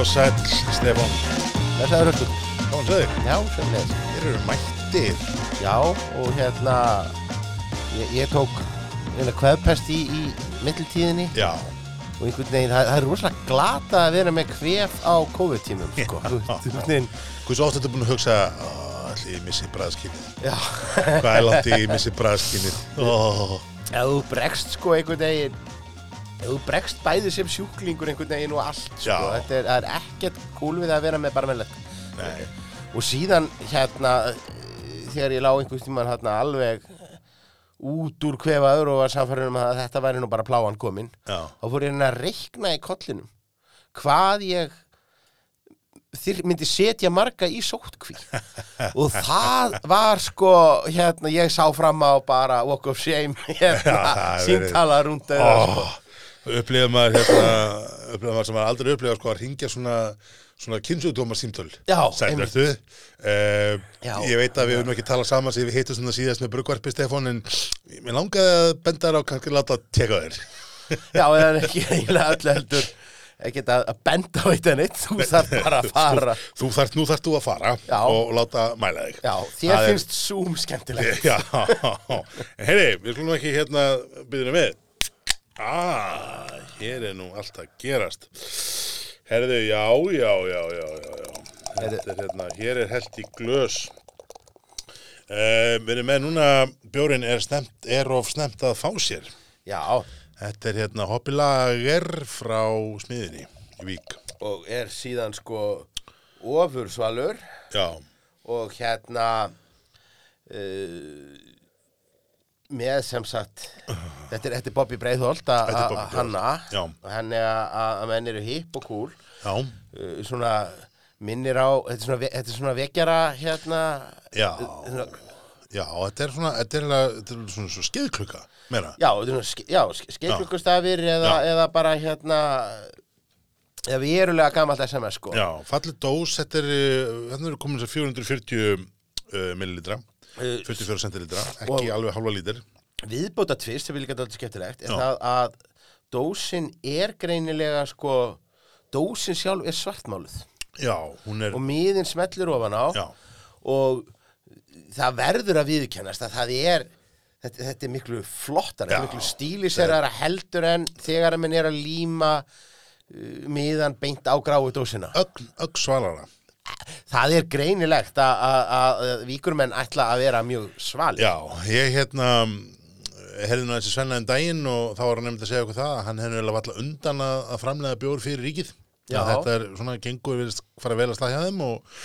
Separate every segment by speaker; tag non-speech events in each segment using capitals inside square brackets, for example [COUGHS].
Speaker 1: og sæl, Stefán.
Speaker 2: Blessaður hlutur.
Speaker 1: Gaman sveður.
Speaker 2: Já, sérlega.
Speaker 1: Þér eru mættir.
Speaker 2: Já, og hérna, ég, ég tók eina kveðpest í, í mittiltíðinni
Speaker 1: Já.
Speaker 2: og einhvern veginn, það, það er rosalega glata að vera með kvef á COVID-tímum, sko. Þú veist, einhvern veginn,
Speaker 1: Hversu oft ertu búin að hugsa, allir ég missi bræðskinnið.
Speaker 2: já,
Speaker 1: Hvað er langt ég missi bræðskinnið? Oh.
Speaker 2: ef þú bregst, sko, einhvern veginn, ef þú bregst bæði sem sjúklingur einhvern veginn og allt, sko.
Speaker 1: Já.
Speaker 2: Þetta er, það er ekkert cool við að vera með bara með lett.
Speaker 1: Nei.
Speaker 2: og síðan hérna eh, þegar ég lá einhvers tímann hérna alveg út úr kvefaður og var samfærinum að þetta væri nú bara pláan komin
Speaker 1: Já.
Speaker 2: þá fór ég hérna að reikna í kollinum hvað ég þyr, myndi setja marga í
Speaker 1: [LAUGHS]
Speaker 2: sótkví og það var sko hérna ég sá fram á bara walk of shame [LAUGHS]
Speaker 1: Já,
Speaker 2: hérna
Speaker 1: það er verið-
Speaker 2: síntala rúnda
Speaker 1: Oh. Upplýða maður hérna, upplýða maður sem maður aldrei upplýða sko að ringja svona, svona kynnsugdómar símtöl.
Speaker 2: Já,
Speaker 1: Sætlar
Speaker 2: einmitt.
Speaker 1: þú? Uh,
Speaker 2: Já.
Speaker 1: ég veit að við höfum ekki talað saman sem við hittum svona síðast með brugvarpi Stefán en mér langaði að benda þér á kannski láta teka þér.
Speaker 2: Já, það er ekki eiginlega öllu heldur ekkert að að benda á eitt en eitt þú þarf bara að fara
Speaker 1: Þú, þú þarft, nú þarft þú að fara
Speaker 2: Já.
Speaker 1: og láta mæla þig.
Speaker 2: Já, þér
Speaker 1: Það er-
Speaker 2: finnst Zoom skemmtilegt.
Speaker 1: Já, en heyri, við skulum ekki hérna byrðina við. Ah, hér er nú allt að gerast. Herðu, já, já, já, já, já, já. Þetta er hérna, hér er held í glös. Uh, við erum með núna, bjórin er, snemt, er of snemt að fá sér.
Speaker 2: [LAUGHS] Já,
Speaker 1: Þetta er hérna hoppilager frá smiðinni í Vík.
Speaker 2: og er síðan sko ofursvalur
Speaker 1: Já,
Speaker 2: og hérna uh, með sem sagt, þetta er, þetta er Bobby Breiðholt að
Speaker 1: Þetta er Bobby
Speaker 2: að hanna
Speaker 1: Breiðholt, já.
Speaker 2: og henni að- að að menn eru hipp og cool,
Speaker 1: já,
Speaker 2: uh, svona minnir á, þetta er svona, ve- þetta er svona vekjara hérna,
Speaker 1: Já.
Speaker 2: svona,
Speaker 1: já, þetta er svona, þetta er, eiginlega- þetta er svona, svona skeiðklukka, meira.
Speaker 2: Já, þetta er svona ske- já, ske- skeiklukkustafir eða,
Speaker 1: Já.
Speaker 2: eða bara hérna eða verulega gamalt SMS sko
Speaker 1: Já, fallið dós, þetta er, uh, hérna eru komin þessar 440 uh, millilitra, 44 centilitra, ekki
Speaker 2: og-
Speaker 1: alveg halva lítir.
Speaker 2: Viðbóta tvist sem við líka dálítið skemmtilegt er
Speaker 1: Já.
Speaker 2: það að dósin er greinilega sko dósin sjálf er svartmáluð
Speaker 1: Já, hún er,
Speaker 2: og miðin smetlur ofan á
Speaker 1: Já.
Speaker 2: og það verður að viðkennast að það er þetta, þetta er miklu flottar,
Speaker 1: Já.
Speaker 2: miklu stíliseraðara heldur en þegar að menn er að líma uh, miðan beint á gráu dósina
Speaker 1: ögn, ögn svalara.
Speaker 2: Það er greinilegt að- að að víkurmenn ætla að vera mjög svali.
Speaker 1: Já, ég hérna, herði nú þessi svennaðin daginn og þá var hann nefnd að segja okkur það, að hann hefði eiginlega valla undan að, að framlega bjór fyrir ríkið.
Speaker 2: Já.
Speaker 1: Að Þetta er svona gengur við fara vel að slagja þeim og,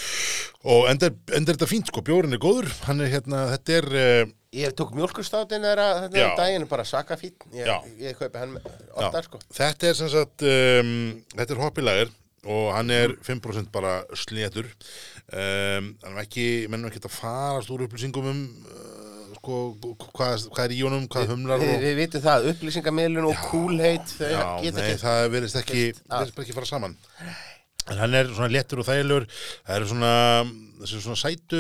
Speaker 1: og enda, enda er þetta fínt sko, bjórin er góður, hann er hérna, þetta er, uh,
Speaker 2: Ég tók mjölkustáttinn þeirra þetta
Speaker 1: Já.
Speaker 2: er daginn, bara saka fín. Ég,
Speaker 1: Já.
Speaker 2: ég kaupi hann
Speaker 1: Já,
Speaker 2: ofta, sko.
Speaker 1: Þetta er sem sagt, um, þetta er hoppilager og hann er 5% bara slétur. Um, hann er ekki, mennum ekki að fara stóru upplýsingum um uh, sko, hvað, hvað er í honum, hvað humlar
Speaker 2: Við,
Speaker 1: og...
Speaker 2: við vitum það, upplýsingamiðlun og kúlheit, þau
Speaker 1: Já,
Speaker 2: geta
Speaker 1: nei,
Speaker 2: ekki.
Speaker 1: það verðist ekki, verðist bara ekki fara saman. En hann er svona léttur og þægilegur, það eru svona, þessi svona sætu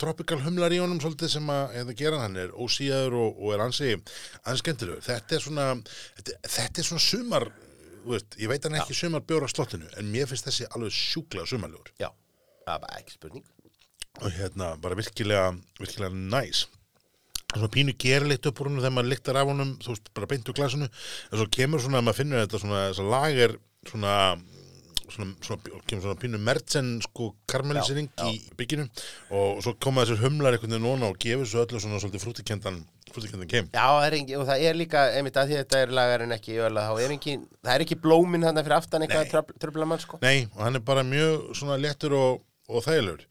Speaker 1: tropical humlar í honum svolítið sem að eða gera hann, hann er ósíðaður og, og er ansi, ansi skemmtilegur. Þetta er svona, þetta, þetta er svona sumar, þú veist, ég veit hann ekki sumar bjóra slottinu, en mér finnst þessi alveg sjúklega sumarlegur.
Speaker 2: Já, það er bara ekki spurning.
Speaker 1: Og hérna, bara virkilega, virkilega næs. Það er Svona pínu gerleitt upp úr honum þegar maður lyktar af honum, þú veist, bara beint úr glasinu, en svo kemur svona, maður finnur þetta svona, þess að lager svona, svona, svona, kemur svona pínu mertsen, sko, karmelisering
Speaker 2: Já, já.
Speaker 1: í bygginu og svo koma þessir humlar einhvern veginn óna og gefur svo öllu svona svolítið frútikendan, frútikendan kem.
Speaker 2: Já, það er engi, og það er líka, einmitt að því þetta er lagar en ekki, jöla, þá er engin, það er ekki blómin þarna fyrir aftan
Speaker 1: Nei.
Speaker 2: eitthvað tröfl- tröflamann, sko.
Speaker 1: Nei, og hann er bara mjög svona léttur og, og þægilegur.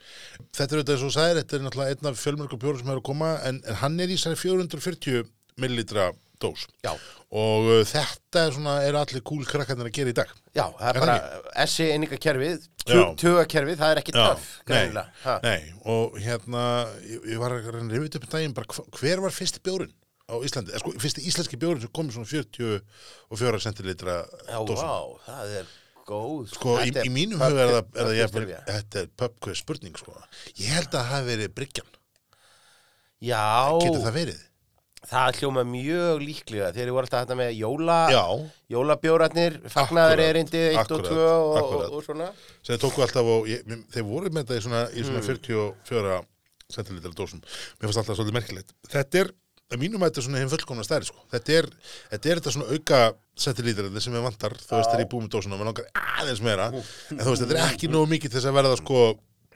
Speaker 1: Þetta er auðvitað eins og þú sagðir, þetta er náttúrulega einn af fjölmörgum bjórum sem er að koma, en, en hann er í særi 440 millilitra dós.
Speaker 2: Já.
Speaker 1: Og uh, þetta er svona, eru allir kúl krakkarnir að gera í dag.
Speaker 2: Já, það er
Speaker 1: Er það
Speaker 2: bara, essi einingakerfið,
Speaker 1: Já.
Speaker 2: tugakerfið, það er ekki töff,
Speaker 1: nei,
Speaker 2: greinilega. Ha.
Speaker 1: nei, og hérna, ég, ég var að reyna reyfið upp í daginn, bara hva- hver var fyrsti bjórin á Íslandi? Eh, Sko, fyrsti íslenski bjórin sem kom í svona 44 centilitra
Speaker 2: Já,
Speaker 1: dós.
Speaker 2: vá, það er góð
Speaker 1: Sko, í,
Speaker 2: Þetta
Speaker 1: í mínum
Speaker 2: pub-
Speaker 1: huga er það, er það
Speaker 2: pub-
Speaker 1: jafnvel,
Speaker 2: stefja.
Speaker 1: þetta er pubquiz spurning, sko. Ég held að það hafi verið bryggjan.
Speaker 2: Já,
Speaker 1: Getur það verið?
Speaker 2: það hljóma mjög líklega þegar ég voru alltaf þetta með jóla,
Speaker 1: Já,
Speaker 2: jólabjóratnir, fagnaðar
Speaker 1: Akkúrat,
Speaker 2: erindi 1 og
Speaker 1: akkúrat,
Speaker 2: 2 og,
Speaker 1: akkúrat.
Speaker 2: og, og svona
Speaker 1: sem þeir tóku alltaf og ég, mér- þeir voru með þetta í svona, í svona 44 centilitra dósum. Mér fannst alltaf svolítið merkilegt. Þetta er, að mínum að þetta er svona hinn fullkomna stærri, sko. Þetta er þetta, er þetta svona auka centilitra sem við vantar, þú veist, þegar ég búið með dósuna og mér langar aðeins meira, en þú veist, þetta er ekki nógu mikið til þess að verða, sko,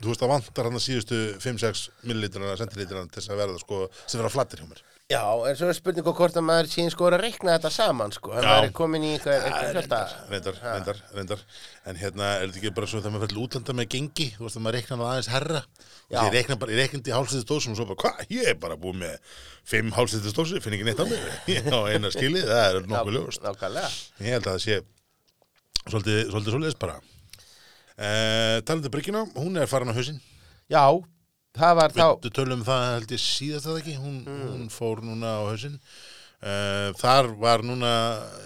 Speaker 1: þú veist, það vantar hann að síðustu 5-6 millilitrana, centilitrana til þess að verða, sko, sem vera flattir hjá mér.
Speaker 2: Já, en svo er spurning og hvort að maður síðan sko er að reikna þetta saman sko,
Speaker 1: Já.
Speaker 2: en maður er komin í einhver, einhver fjölda
Speaker 1: reyndar, reyndar, reyndar, reyndar en hérna er þetta ekki bara svo þegar maður fyrir útlanda með gengi þú veist að maður reiknar það aðeins herra og
Speaker 2: Já.
Speaker 1: ég reikna bara, ég reiknandi hálfsýttis dósum og svo bara, hvað, ég er bara búið með fimm hálfsýttis dósi, finn ekki neitt á mig ég á eina skilið, það er nokkuð ljóst
Speaker 2: Nákvæmlega
Speaker 1: ég held að það sé svolítið, svolítið svolítið bara Uh, talandi Bryggina, hún er farin á hausinn
Speaker 2: Já, það var þá
Speaker 1: við tölum um það held ég síðast að ekki hún, hún fór núna á hausinn uh, þar var núna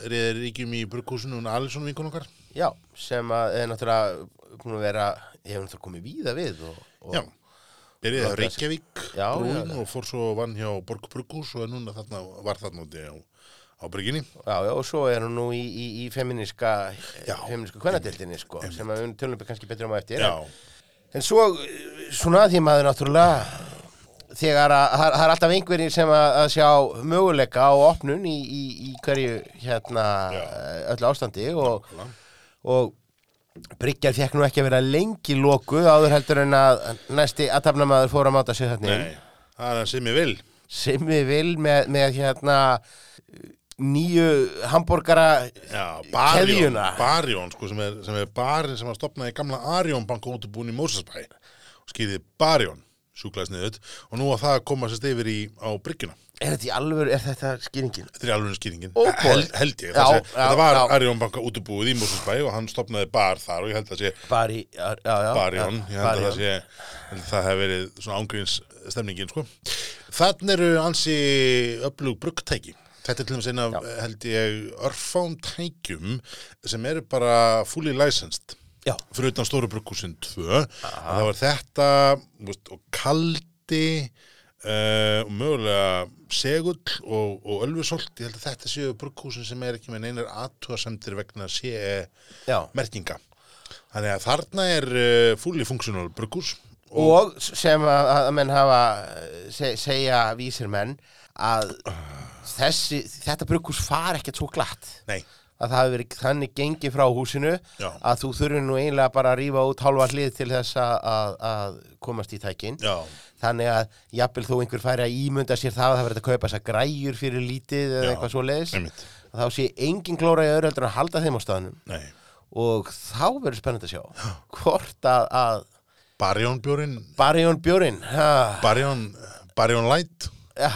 Speaker 1: reyðir ríkjum í brugghúsinu hún Alisson vinkun okkar
Speaker 2: Já, sem að er náttúrulega búin að vera, hefur náttúrulega komið víða við og, og
Speaker 1: Já, byrjaði á
Speaker 2: Láta sig-
Speaker 1: Reykjavík
Speaker 2: Já,
Speaker 1: brúin
Speaker 2: já, já.
Speaker 1: og fór svo vann hjá Borg Brugghús og er núna þarna, var þarna úti á, á brygginni.
Speaker 2: Já, já, og svo er hún nú í, í, í feminiska,
Speaker 1: Já,
Speaker 2: feminiska kvennadeildinni, sko, sem að við tölum við kannski betur um að eftir.
Speaker 1: Já,
Speaker 2: En svo, svona að því maður náttúrulega, þegar að, það er- það er alltaf einhverjir sem að, að sjá möguleika á opnun í, í, í hverju, hérna,
Speaker 1: Já.
Speaker 2: öllu ástandi og,
Speaker 1: Nákvæmlega.
Speaker 2: og Bryggjar fekk nú ekki að vera lengi lokuð áður heldur en að næsti aðtapnamaður fór að máta sig þarna inn.
Speaker 1: nei, það er hann sem ég vil.
Speaker 2: sem við vil með, með hérna nýju hambúrgara
Speaker 1: Já, Barjón,
Speaker 2: Keðjuna.
Speaker 1: Barjón, sko, sem er, sem er barinn sem var stopnað í gamla Arjón banka útibúin í Mósasbæ og skýrði Barjón, sjúklaðis niður, og nú að það að koma sérst yfir í, á bryggjuna.
Speaker 2: er þetta í alvöru, er þetta skýringin?
Speaker 1: Þetta er alveg skýringin,
Speaker 2: Ó, boy.
Speaker 1: held, held ég.
Speaker 2: Já,
Speaker 1: Já,
Speaker 2: já,
Speaker 1: þetta var
Speaker 2: já.
Speaker 1: Arjón banka útibúið í Mósasbæ og hann stopnaði bar þar og ég held að sé
Speaker 2: Bari, já, já, já
Speaker 1: Barjón, ég held að það
Speaker 2: Barjón.
Speaker 1: sé held að það hef verið svona ángríns stemningin sko. Þann eru ansi öflug bruggtæki Þetta er til dæmis einn af, held ég, örfám tækjum sem eru bara fully licensed
Speaker 2: Já.
Speaker 1: fyrir utan stóru brugghúsin 2 en það var þetta þú veist, og kaldi uh, og mögulega segull og, og ölfusolt ég held að þetta séu brugghúsin sem er ekki með neinar aðtúasemdir vegna E sé
Speaker 2: já.
Speaker 1: merkinga. Þannig að þarna er uh, fully functional brugghús og,
Speaker 2: Og sem að, að menn hafa eh, se, segja vísir menn að þessi, þetta brugghús far ekkert svo glatt
Speaker 1: nei,
Speaker 2: að það hafi verið þannig gengið frá húsinu
Speaker 1: Já.
Speaker 2: að þú þurfir nú eiginlega bara að rífa út hálfa hlið til þess að, að, að komast í tækin
Speaker 1: já,
Speaker 2: þannig að jafnvel þó einhver færi að ímynda sér það að það verið að kaupa þess að græjur fyrir lítið eða
Speaker 1: Já,
Speaker 2: eitthvað svo leiðis
Speaker 1: einmitt.
Speaker 2: þá sé engin glóra í öðröldur að halda þeim á staðnum
Speaker 1: nei.
Speaker 2: og þá verður spennandi að sjá hvort að, að
Speaker 1: Barjón bjórin,
Speaker 2: Barjón Bjórin ha,
Speaker 1: Barjón, Barjón eh, Light,
Speaker 2: ja,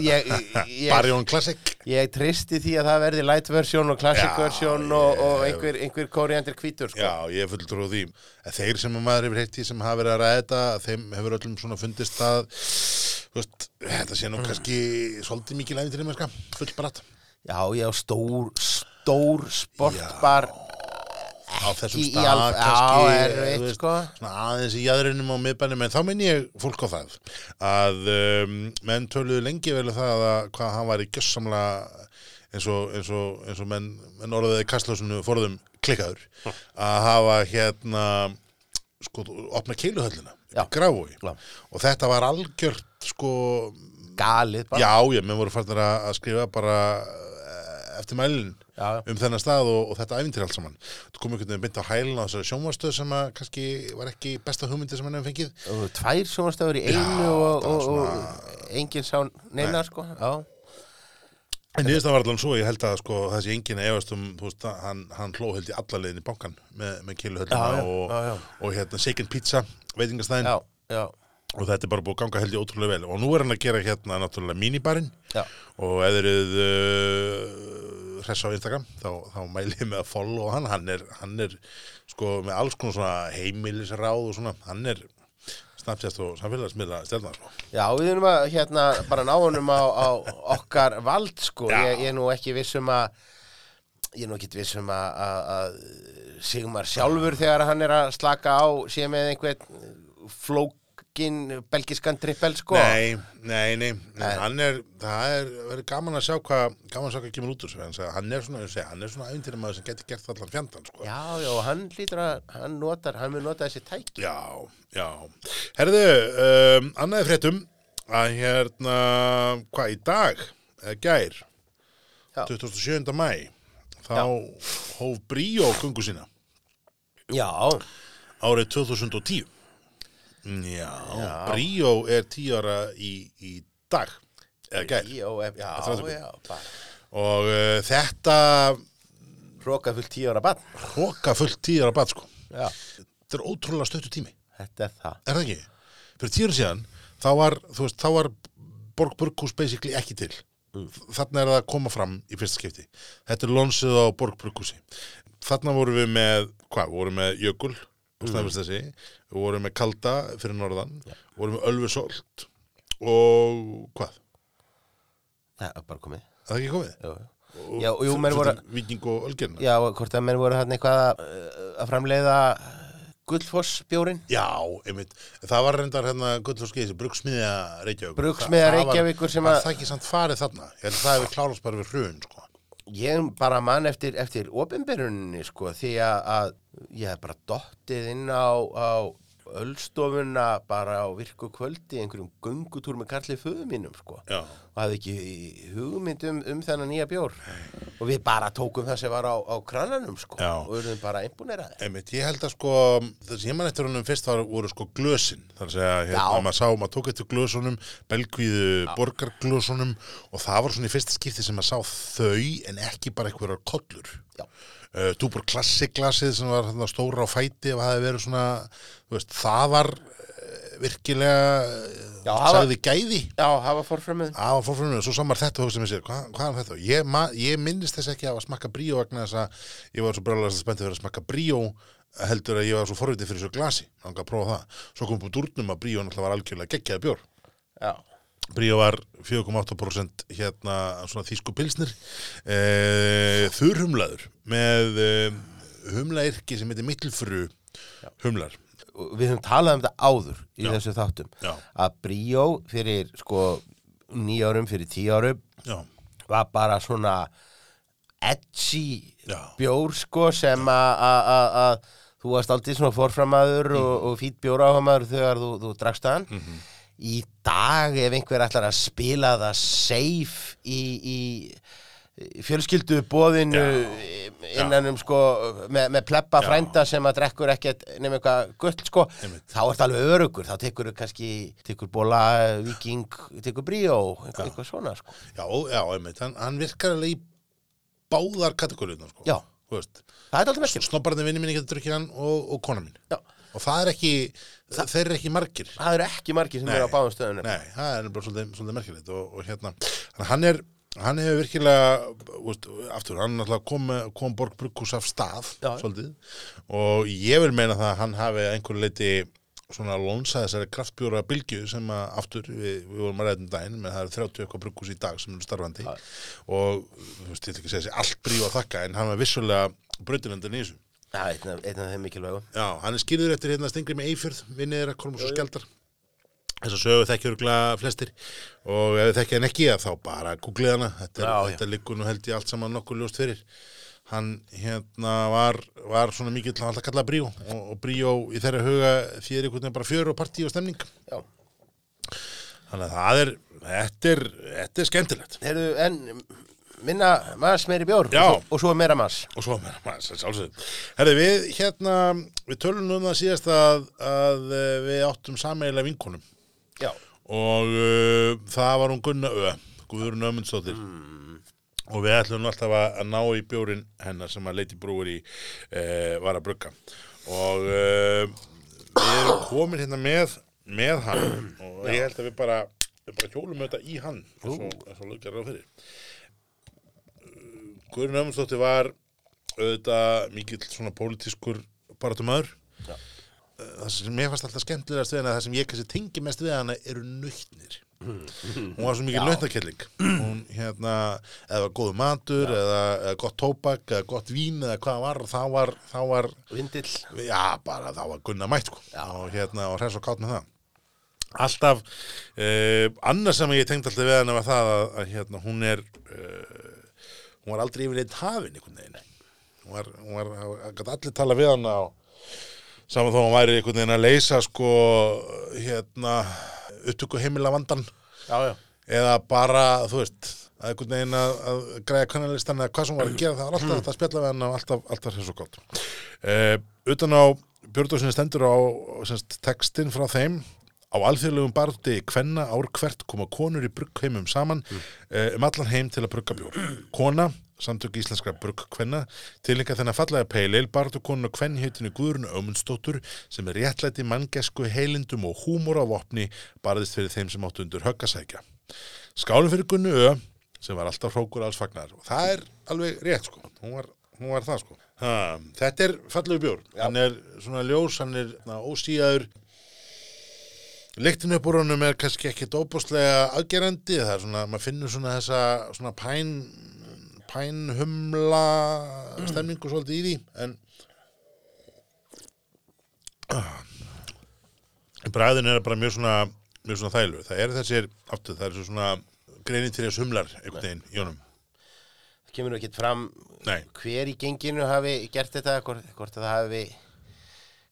Speaker 2: ég, ég,
Speaker 1: Barjón Classic.
Speaker 2: ég tristi því að það verði light version og classic
Speaker 1: Já,
Speaker 2: version og, og
Speaker 1: ég-
Speaker 2: einhver, einhver kóriandir hvítur sko.
Speaker 1: Já, ég er full trú á því. Að þeir sem að maður hefur heitt í sem hafa verið að ræða þetta, að þeim hefur öllum svona fundist að, þú veist, þetta sé nú kannski svolítið mikið læfið til þeim, sko, full bratt.
Speaker 2: já, já, stór, stór sportbar
Speaker 1: Á þessum
Speaker 2: Í- í
Speaker 1: stað,
Speaker 2: alf-
Speaker 1: kannski,
Speaker 2: já, erfitt,
Speaker 1: þú veist,
Speaker 2: sko.
Speaker 1: svona aðeins í jæðrinum á miðbænum en þá minn ég fólk á það að um, menn töluðu lengi vel um það að hvað hann var í gjössamlega eins og, eins og, eins og menn, menn orðaði kastlásinu forðum klikkaður að hafa hérna sko, opna keiluhöllina
Speaker 2: Já.
Speaker 1: gráfói
Speaker 2: Já.
Speaker 1: og þetta var algjört sko,
Speaker 2: galið bara
Speaker 1: já, ég menn voru farnir að að skrifa bara eh, eftir mælinn
Speaker 2: Já, já.
Speaker 1: um þennan stað og, og þetta æfintir allt saman þetta kom einhvern veginn beint á hælun á þessari sjónvarstöð sem að kannski var ekki besta hugmyndi sem hann hefði fengið
Speaker 2: og tvær sjónastöður í einu og,
Speaker 1: það var
Speaker 2: og,
Speaker 1: svona-
Speaker 2: og enginn sá neina sko já,
Speaker 1: en niðurstað var allan svo, ég held að sko, þessi enginn efast um, þú veist, að hann, hann hló held í alla leiðin í bankan með, með
Speaker 2: Já, já,
Speaker 1: kiluhöllina og,
Speaker 2: já, já.
Speaker 1: og hérna Shaken Pizza veitingastæðin
Speaker 2: já, já,
Speaker 1: og þetta er bara búið að ganga held í ótrúlega vel og nú er hann að gera hérna náttúrulega minibarinn
Speaker 2: já.
Speaker 1: og ef þeir eruð uh, hress á Instagram þá, þá mæli ég með að follow hann hann er, hann er sko með alls konar svona heimilisráð og svona hann er snabbt og samfélagsmiðla stelna sko
Speaker 2: já, við erum að hérna bara ná honum á, á okkar vald sko,
Speaker 1: Já.
Speaker 2: ég, ég er nú ekki viss um að ég er nú ekki viss um að, að, að Sigmar sjálfur þegar hann er að slaka á sé með einhvern flók engin belgiskan trippel sko
Speaker 1: Nei, nei, nei, nei.
Speaker 2: Nei.
Speaker 1: Hann er, það er, verður gaman að sjá hvað gaman að sjá hvað kemur út úr þessu, hann, hann er svona, ég segi, hann er svona æfintýra maður sem getur gert allan fjandann, sko.
Speaker 2: Já, já, hann lítur að, hann notar, hann mun nota þessi tæki
Speaker 1: já, já. Herðu, um, annaði fréttum að hérna, hvað, í dag, eða gær,
Speaker 2: Já.
Speaker 1: 27. mæ, þá hóf Bríó kungu sína
Speaker 2: Já,
Speaker 1: árið 2010. Já, Bríó er tíu ára í, í dag, eða gær.
Speaker 2: já, ef- já,
Speaker 1: Þetta er
Speaker 2: já, bara
Speaker 1: Og uh, þetta
Speaker 2: Hróka fullt tíu ára bann
Speaker 1: hróka fullt tíðar að bat sko.
Speaker 2: Já,
Speaker 1: Þetta er ótrúlega stöttu tími,
Speaker 2: þetta er það
Speaker 1: er það ekki? Fyrir tíður síðan, þá var, þú veist, þá var Borg Burghús basically ekki til. Þarna er það að koma fram í fyrsta skipti. Þetta er lonsið á Borg Burghúsi. Þarna vorum við með, hvað, vorum við með Jökul,
Speaker 2: Mhm.
Speaker 1: snæfist þessi, við vorum með Kalda fyrir norðan, vorum með Ölfusolt og hvað,
Speaker 2: Það er bara komið
Speaker 1: er það ekki komið?
Speaker 2: Já, já, og jú, menn voru
Speaker 1: Viking og Ölgerna.
Speaker 2: Já, hvort að menn voru hann eitthvað að, uh, að framleiða Gullfoss bjórin
Speaker 1: Já, einmitt. Það var reyndar hérna Gullforskið, þessi brugsmiðja Reykjavíkur.
Speaker 2: Brugsmiðja
Speaker 1: Það- það var-
Speaker 2: Reykjavíkur sem
Speaker 1: Var
Speaker 2: að-
Speaker 1: það ekki samt farið þarna? Ég held að það hefur klárast bara við hrun, sko.
Speaker 2: Ég bara man eftir, eftir opinberuninni sko því að, að ég hef bara dottið inn á, á öllstofuna bara á virku kvöldi í einhverjum göngutúr með karlið föðu mínum sko
Speaker 1: Já.
Speaker 2: og hafði ekki hugmynd um, um þennan nýja bjór og við bara tókum það sem var á, á krananum sko
Speaker 1: Já.
Speaker 2: og urðum bara einbúneraði
Speaker 1: Einmitt, ég held að sko, það sem ég man eftir honum fyrst var, voru sko glösin. Þannig að segja, hérna,
Speaker 2: Já.
Speaker 1: maður sá, maður tók eftir glösunum, belgvíðu borgarglösunum og það var svona í fyrsta skipti sem maður sá þau en ekki bara einhverjar kollur.
Speaker 2: Já,
Speaker 1: uh, Dúbor klassiklasið sem var þarna, stóra á fæti og hafði verið svona þú veist, það var uh, virkilega
Speaker 2: Já,
Speaker 1: uh,
Speaker 2: það var-
Speaker 1: sagði gæði
Speaker 2: Já hafa fórframuð
Speaker 1: Það var fórfrunum, svo samar þetta og hugsa með sér, hvað, hvað er þetta? Ég, ma- ég minnist þess ekki að smakka bríó vegna þess að ég var svo brjóðlega spenntið fyrir að smakka bríó heldur að ég var svo forvitið fyrir þessu glasi, þannig að prófa það. Svo kom búið úrnum að bríó náttúrulega var algjörlega geggjaði bjór.
Speaker 2: Já,
Speaker 1: Bríó var 4,8% hérna svona þýsku pilsnir e, þurrhumlaður með e, humlairki sem heitir mittilfru humlar
Speaker 2: Og við höfum talað um þetta áður í
Speaker 1: Já.
Speaker 2: þessu þáttum
Speaker 1: Já.
Speaker 2: að bríó fyrir sko nýjárum fyrir tíjárum
Speaker 1: Já,
Speaker 2: var bara svona edgy
Speaker 1: já,
Speaker 2: bjór sko sem að- að að- að þú varst aldrei svona fórframaður og,
Speaker 1: Mm.
Speaker 2: og fýtt bjóráhamaður þegar þú, þú drakst hann
Speaker 1: Mhm.
Speaker 2: í dag ef einhver ætlar að spila það safe í, í fjölskyldu bóðinu innan um sko með, með pleppa
Speaker 1: Já.
Speaker 2: frænda sem að drekkur ekkert nefnum eitthvað gull sko
Speaker 1: Einmitt.
Speaker 2: þá ertu alveg örugur, þá tekur þú kannski tekur bóla, viking, tekur bríó eitthvað, eitthvað svona sko
Speaker 1: já, já, einmitt, hann, hann virkar alveg í báðar kategóriðna, sko.
Speaker 2: Já.
Speaker 1: Þú veist,
Speaker 2: það er alltaf merkjum
Speaker 1: snobbarnir vinni minni getur drukkið hann og, og kona mín.
Speaker 2: Já.
Speaker 1: Og það er ekki, þeir eru ekki margir.
Speaker 2: það eru ekki margir sem
Speaker 1: Nei.
Speaker 2: eru á báðum stöðunum
Speaker 1: Nei, það er bara svolítið, svolítið merkilegt og, og hérna, þannig að hann er hann hefur virkilega, úst, aftur hann náttúrulega kom, með- kom Borg Brukkús af stað,
Speaker 2: Já.
Speaker 1: svolítið og ég vil meina það að hann hafi að einhverju leiti svona lónsað þessari kraftbjóra bylgju sem að aftur við, við vorum að reyðum daginn, menn það eru 30 eitthvað brukkús í dag sem eru starfandi og þú veist, ég ætla ekki að segja þessi allt bríu að þakka en hann var vissulega brautinendan í þessu
Speaker 2: Já, einn af, einn af þeim mikilvægum.
Speaker 1: Já, hann er skýrður eftir hérna Stingri með Eifjörð, vinnið þeirra Kormus og Skjaldar. Þess að sögu þekkja örgulega flestir og ef þið þekkja hann ekki þá bara googlið hana. Þetta, er,
Speaker 2: Já, já.
Speaker 1: þetta liggur nú held ég allt saman nokkuð ljóst fyrir. Hann hérna var, var svona mikið til að alltaf kalla bríó og, og bríó í þeirra huga því er einhvern veginn bara fjör og partí og stemning.
Speaker 2: Já.
Speaker 1: Þannig að það er, þetta er, þetta er skemmtilegt.
Speaker 2: Heyrðu, en minna mass meiri bjór
Speaker 1: Já.
Speaker 2: og, svo- og svo meira mass.
Speaker 1: Og svo meira maður, sem sjálfsögum. Herði, við hérna, við tölum um það síðast að, að eh, við áttum sameiglega vinkonum.
Speaker 2: Já.
Speaker 1: og uh, það var hún Gunna Ö Guðurinn Ömundsdóttir og við ætlum nú alltaf að, að ná í bjórin hennar sem að leiti brúir í uh, var að brugga og uh, við erum komin hérna með, með hann og ég held að við bara, við bara hjólum þetta í hann eins og, eins og lögjar ráð fyrir Guðurinn Eh, Ömundsdóttir var auðvitað mikill svona pólitískur baratumöður það sem mér fannst alltaf skemmtilegast við hana það sem ég kannski tengi mest við hana eru nautnir hún var svo mikið nautnakelling hún hérna, eða góðu matur eða, eða gott tóbak, eða gott vín eða hvað var, þá var, þá var
Speaker 2: Vindill.
Speaker 1: já, bara þá var Gunna mætt sko. og hérna, og hreins og kátt með það alltaf uh, annars sem ég tengd alltaf við hann var það að, að hérna, hún er uh, hún var aldrei yfir neitt hafin einhvern veginn hún var, hún var, hann gæti allir tala við hann á saman þó að hún væri einhvern veginn að leysa sko hérna upptöku heimila vandan
Speaker 2: já, já.
Speaker 1: eða bara, þú veist að einhvern veginn að, að græja kannalistan eða hvað sem hún var að gera, það var alltaf þetta að spjalla við hann og alltaf, alltaf hér svo gott uh, utan á Björndósinni stendur á semst, textin frá þeim á alþjóðlegum barði hvenna ár hvert koma konur í bruggheimum saman eh, um allan heim til að brugga bjór kona, samtök íslenskra bruggkvenna tilinka þennan fallega peileil barðu konuna kvennhjötinu Guðrun Ömundsdóttur sem er réttlæti manngesku heilindum og húmor á vopni barðist fyrir þeim sem áttu undir höggasækja skálum fyrir Gunnu Ö sem var alltaf hrókur alls fagnar og það er alveg rétt sko hún var, hún var það sko ha, þetta er fallegu bjór hann er svona ljós, hann er na, ósíðaður Lyktin upp úr honum er kannski ekkit óbúslega aðgerandi, það er svona, maður finnur svona þessa svona pæn, pænhumla stemningu svolítið í því, en bræðin er bara mjög svona, mjög svona þælu, það er þessir, aftur, það er svona greinin til þess humlar einhvern veginn í honum.
Speaker 2: Það kemur ekki fram
Speaker 1: Nei.
Speaker 2: hver í genginu hafi gert þetta, hvort, hvort að það hafi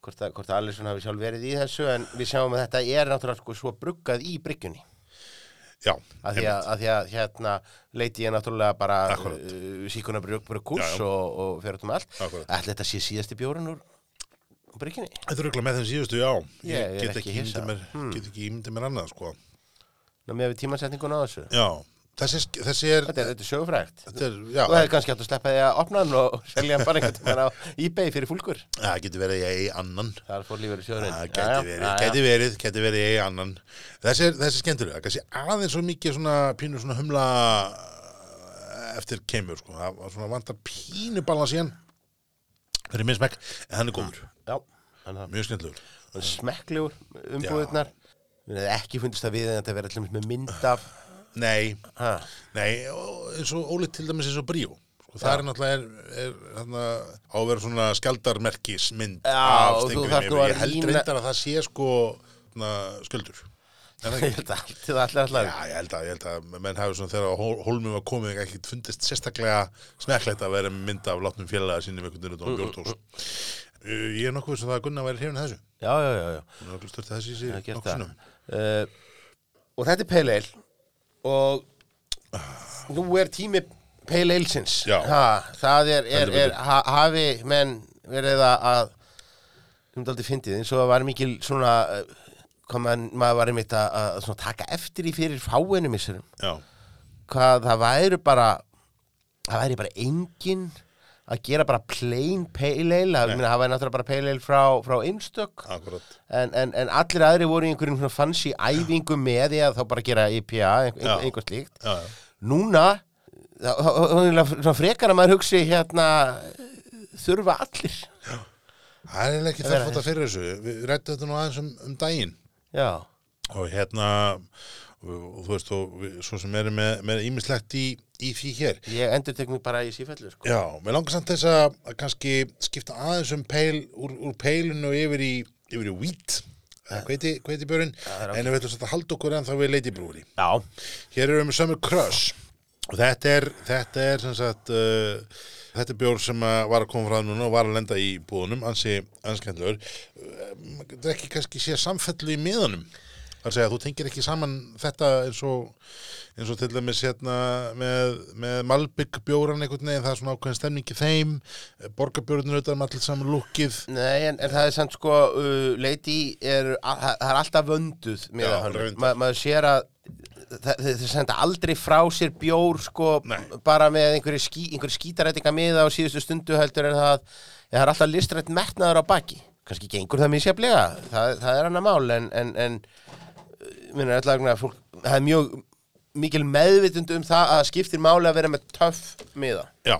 Speaker 2: hvort, að, hvort að Alisson hafi sjálf verið í þessu en við sjáum að þetta er náttúrulega sko svo bruggað í bryggjunni
Speaker 1: Já,
Speaker 2: að því að, að, því að hérna leiti ég náttúrulega bara
Speaker 1: Akkúrat.
Speaker 2: uh, síkuna brugghús
Speaker 1: Já, já.
Speaker 2: og, og fyrir út um allt
Speaker 1: Akkúrat.
Speaker 2: Ætli þetta sé síðasti bjórun úr bryggjunni
Speaker 1: þetta er auðvitað með þeim síðustu, já,
Speaker 2: Ég er
Speaker 1: get
Speaker 2: ekki
Speaker 1: ekki
Speaker 2: hissa.
Speaker 1: ímyndið
Speaker 2: Hmm.
Speaker 1: mér, get ekki ímyndið mér annað, sko.
Speaker 2: Ná með við tímasetninguna á þessu
Speaker 1: Já, þessi, þessi er,
Speaker 2: Þetta er, þetta er sögufrægt
Speaker 1: þetta er, já.
Speaker 2: Þú hefði kannski átt að sleppa því að opna hann og [LAUGHS] selja hann bara einhvern tímann á eBay fyrir fólkur
Speaker 1: Það getur verið að ég eigi annan
Speaker 2: Það fór lífur í sjóðurinn
Speaker 1: Það gæti verið, gæti verið, gæti verið ég eigi annan Þessi er, þessi er skemmtilega, kannski aðeins svo mikið svona pínu svona humla eh, eftir kemur sko Það var svona vantar pínu balans í hann Fyrir minn smekk, en hann er góður,
Speaker 2: Já, hann það
Speaker 1: mjög skemmtilegur
Speaker 2: Hann er smekklegur umbúðirnar Mér hefði ekki fundist það við en þetta verið allir með mynd af
Speaker 1: Nei,
Speaker 2: ha,
Speaker 1: nei, ó, eins og ólíkt til dæmis eins og bríó og það er náttúrulega er, er, hana, á að vera svona skjaldarmerkismynd
Speaker 2: Já,
Speaker 1: af
Speaker 2: og þú
Speaker 1: Steingrími.
Speaker 2: þarft nú að
Speaker 1: Ég held
Speaker 2: rýna-
Speaker 1: reyndar að það sé sko hana, sköldur Er það ekki?
Speaker 2: [LAUGHS] [LAUGHS] Ég held að allt- Það er allir allar
Speaker 1: Já, ég held að, ég held að menn hafi svona þegar á hól- hólmum var komið ekki fundist sérstaklega smekklegt að vera með mynda af látnum félaga sínum einhvern veginn út á bjórtós. Uh, Ég er nokkuð sem það að Gunnar væri hrifin að þessu.
Speaker 2: Já, já, já, já
Speaker 1: Hún er nokkuð stört að þessu í sig
Speaker 2: Það gert
Speaker 1: nokkuð
Speaker 2: það
Speaker 1: sinnum.
Speaker 2: uh, Og þetta er Pale Ale Og nú er tími Pale Ale-sins
Speaker 1: Já.
Speaker 2: Það er, er,
Speaker 1: Heldur
Speaker 2: er ha, hafi menn verið að að- um daldi fyndið eins og það var mikil svona eh, hvað man, maður var einmitt að, að svona taka eftir í fyrir fáinum missurum
Speaker 1: Já,
Speaker 2: hvað það væri bara það væri bara engin að gera bara plain pale ale það, ég meina, það væri náttúrulega bara pale ale frá, frá einstök
Speaker 1: akkurat.
Speaker 2: en, en, en allir aðri voru í einhverjum svona fancy æfingu með því að þá bara gera IPA, einhver,
Speaker 1: Já.
Speaker 2: einhver slíkt
Speaker 1: Já, já.
Speaker 2: núna þá- þá- þá- þá er svona frekar að maður hugsi hérna þurfa allir
Speaker 1: Það er eiginlega ekki þarf fóta fyrir þessu. Við rættum þetta nú aðeins um, um daginn.
Speaker 2: já,
Speaker 1: og hérna og, og þú veist, og, við- svo sem erum með- með ímislegt í, í því hér.
Speaker 2: ég endur tek mig bara í sífellu sko.
Speaker 1: Já, mér langar samt þess að að kannski skipta aðeins um peil, úr, úr peilinu og yfir í, yfir í wheat, hveiti, hveiti björn,
Speaker 2: það er ágætt.
Speaker 1: en við ætlum samt að halda okkur en þá við leiti brúri.
Speaker 2: já,
Speaker 1: Hér erum við Summer Crush og þetta er, þetta er sem sagt uh, þetta er bjór sem að var að koma frá núna og var að lenda í búðunum ansi anskendlur þetta er ekki kannski sé samfellu í miðunum Það er að segja, þú tengir ekki saman þetta eins og, eins og til dæmis hérna með, með Malbygg bjóran einhvern veginn, það er svona ákveðin stemning í þeim, borgarbjórnir auðvitað með allir saman lúkið,
Speaker 2: Nei, en, en það er samt sko, uh, Lady er, a- það það er alltaf vönduð með
Speaker 1: Já,
Speaker 2: hann.
Speaker 1: reyndar.
Speaker 2: Ma, maður sér að þa- þau þau senda aldrei frá sér bjór sko,
Speaker 1: Nei.
Speaker 2: bara með einhverju skí, einhver skítarætinga miða á síðustu stundu heldur en það, en það er alltaf listrætt metnaður á baki. Kannski gengur það misjaflega, það, það er annað mál en, en, en uh, minna allavega fólk, það er mjög mikil meðvitund um það að það skiptir máli að vera með töff miða.
Speaker 1: já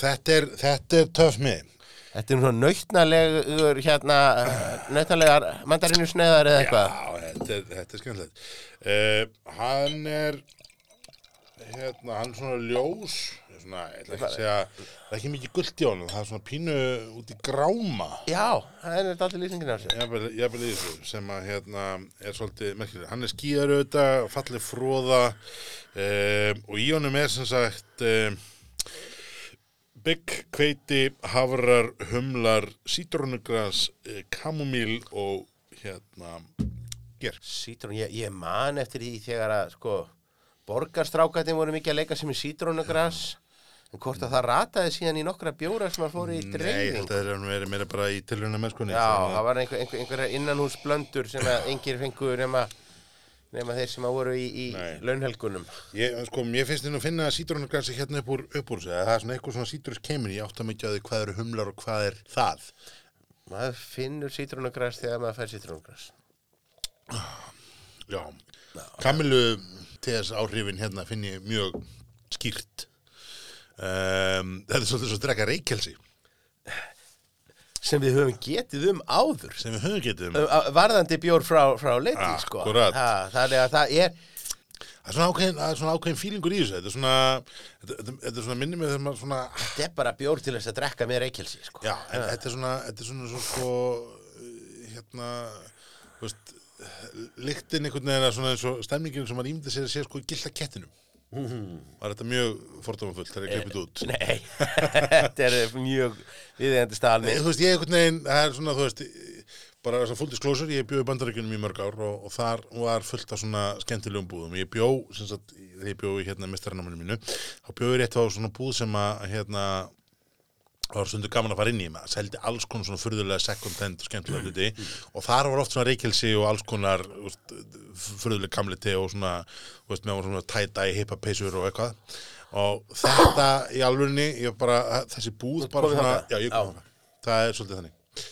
Speaker 1: þetta er, þetta er töff mið
Speaker 2: Þetta er svona nautnalegur hérna, nautnalegar mandarinu sneiðar eða eitthvað.
Speaker 1: Já, þetta er, þetta er skemmtilegt. Eh, Uh, hann er, hérna, hann er svona ljós, svona, ég ætla ekki að segja, það er ekki mikið gullt í honum, það er svona pínu út í gráma.
Speaker 2: Já, það er þetta allir lýsingin af sér.
Speaker 1: Jafnvel jafnvel í þessu sem að hérna er svolítið merkilega. Hann er skýðar auðvitað, fallið fróða um, og í honum er sem sagt um, bygg, kveiti, hafrar, humlar, sítrónugras, eh, kamomíl og hérna ger.
Speaker 2: Sítrón, ég, ég man eftir því þegar að, sko, borgarstrákatinn voru mikið að leika sem í sítrónugras, en hvort að það rataði síðan í nokkra bjóra sem að fóru í
Speaker 1: Nei,
Speaker 2: dreifing.
Speaker 1: þetta er verið meira bara í sko, tilhuna mennskunni.
Speaker 2: Já, það var einhver, einhver, einhverja innanhúsblöndur sem að engir fengu nema, nema þeir sem að voru í, í
Speaker 1: Nei.
Speaker 2: launhelgunum.
Speaker 1: Ég, sko, ég finnst þið nú að finna sítrónugrasi hérna upp úr, upp úr þessu, eða það er svona eitthvað svona sítrus kemur, ég átta mikið á því hvað eru humlar og hvað er það.
Speaker 2: Maður finnur sítrónugras þegar maður fær sítrónugras.
Speaker 1: Já, Kamilu TS áhrifin hérna finn ég mjög skýrt. Um, þetta er svolítið svo að drekka reykelsi
Speaker 2: Sem við höfum getið um áður.
Speaker 1: sem við höfum um. getum.
Speaker 2: Ö, ö, varðandi bjór frá, frá liti
Speaker 1: Ah,
Speaker 2: sko.
Speaker 1: Akkúrat.
Speaker 2: ha, þannig að það er
Speaker 1: Það er svona ákveðin, það er svona ákveðin fílingur í þessu. Þetta er svona, þetta, þetta- þetta er svona minni með þegar maður svona,
Speaker 2: þetta er bara bjór til þess að drekka með reykjelsi sko.
Speaker 1: já, en þetta er svona, þetta er svona svo sko, uh, hérna, þú veist, lyktin einhvern veginn að svona eins og stemningin sem maður ímyndi sér að sé sko gilt að kettinum. Var þetta mjög fordómafull þegar ég kleipið þetta út?
Speaker 2: [LAUGHS] nei, þetta er mjög viðeigandi staðalmi
Speaker 1: Nei, þú veist, ég einhvern veginn, það er svona, þú veist, bara þess að full disclosure, ég bjó í bandaríkjunum í mörg ár og, og þar var fullt af svona skemmtilegum búðum. Ég bjó, sem sagt, þegar ég bjó í hérna mestaranáminu mínu, þá bjó ég rétt á svona búð sem að, hérna, það var stundu gaman að fara inn í maður, seldi alls konar svona furðulega second hand og skemmtilega hluti og þar var oft svona reykjelsi og alls konar þú veist, furðulega kamliti og svona, þú veist, með svona tæta í hippa peysur og eitthvað og þetta í alvörinni, ég bara, þessi búð bara
Speaker 2: komið
Speaker 1: svona,
Speaker 2: þangað?
Speaker 1: já, ég
Speaker 2: Já.
Speaker 1: kom þangað. það er svolítið þannig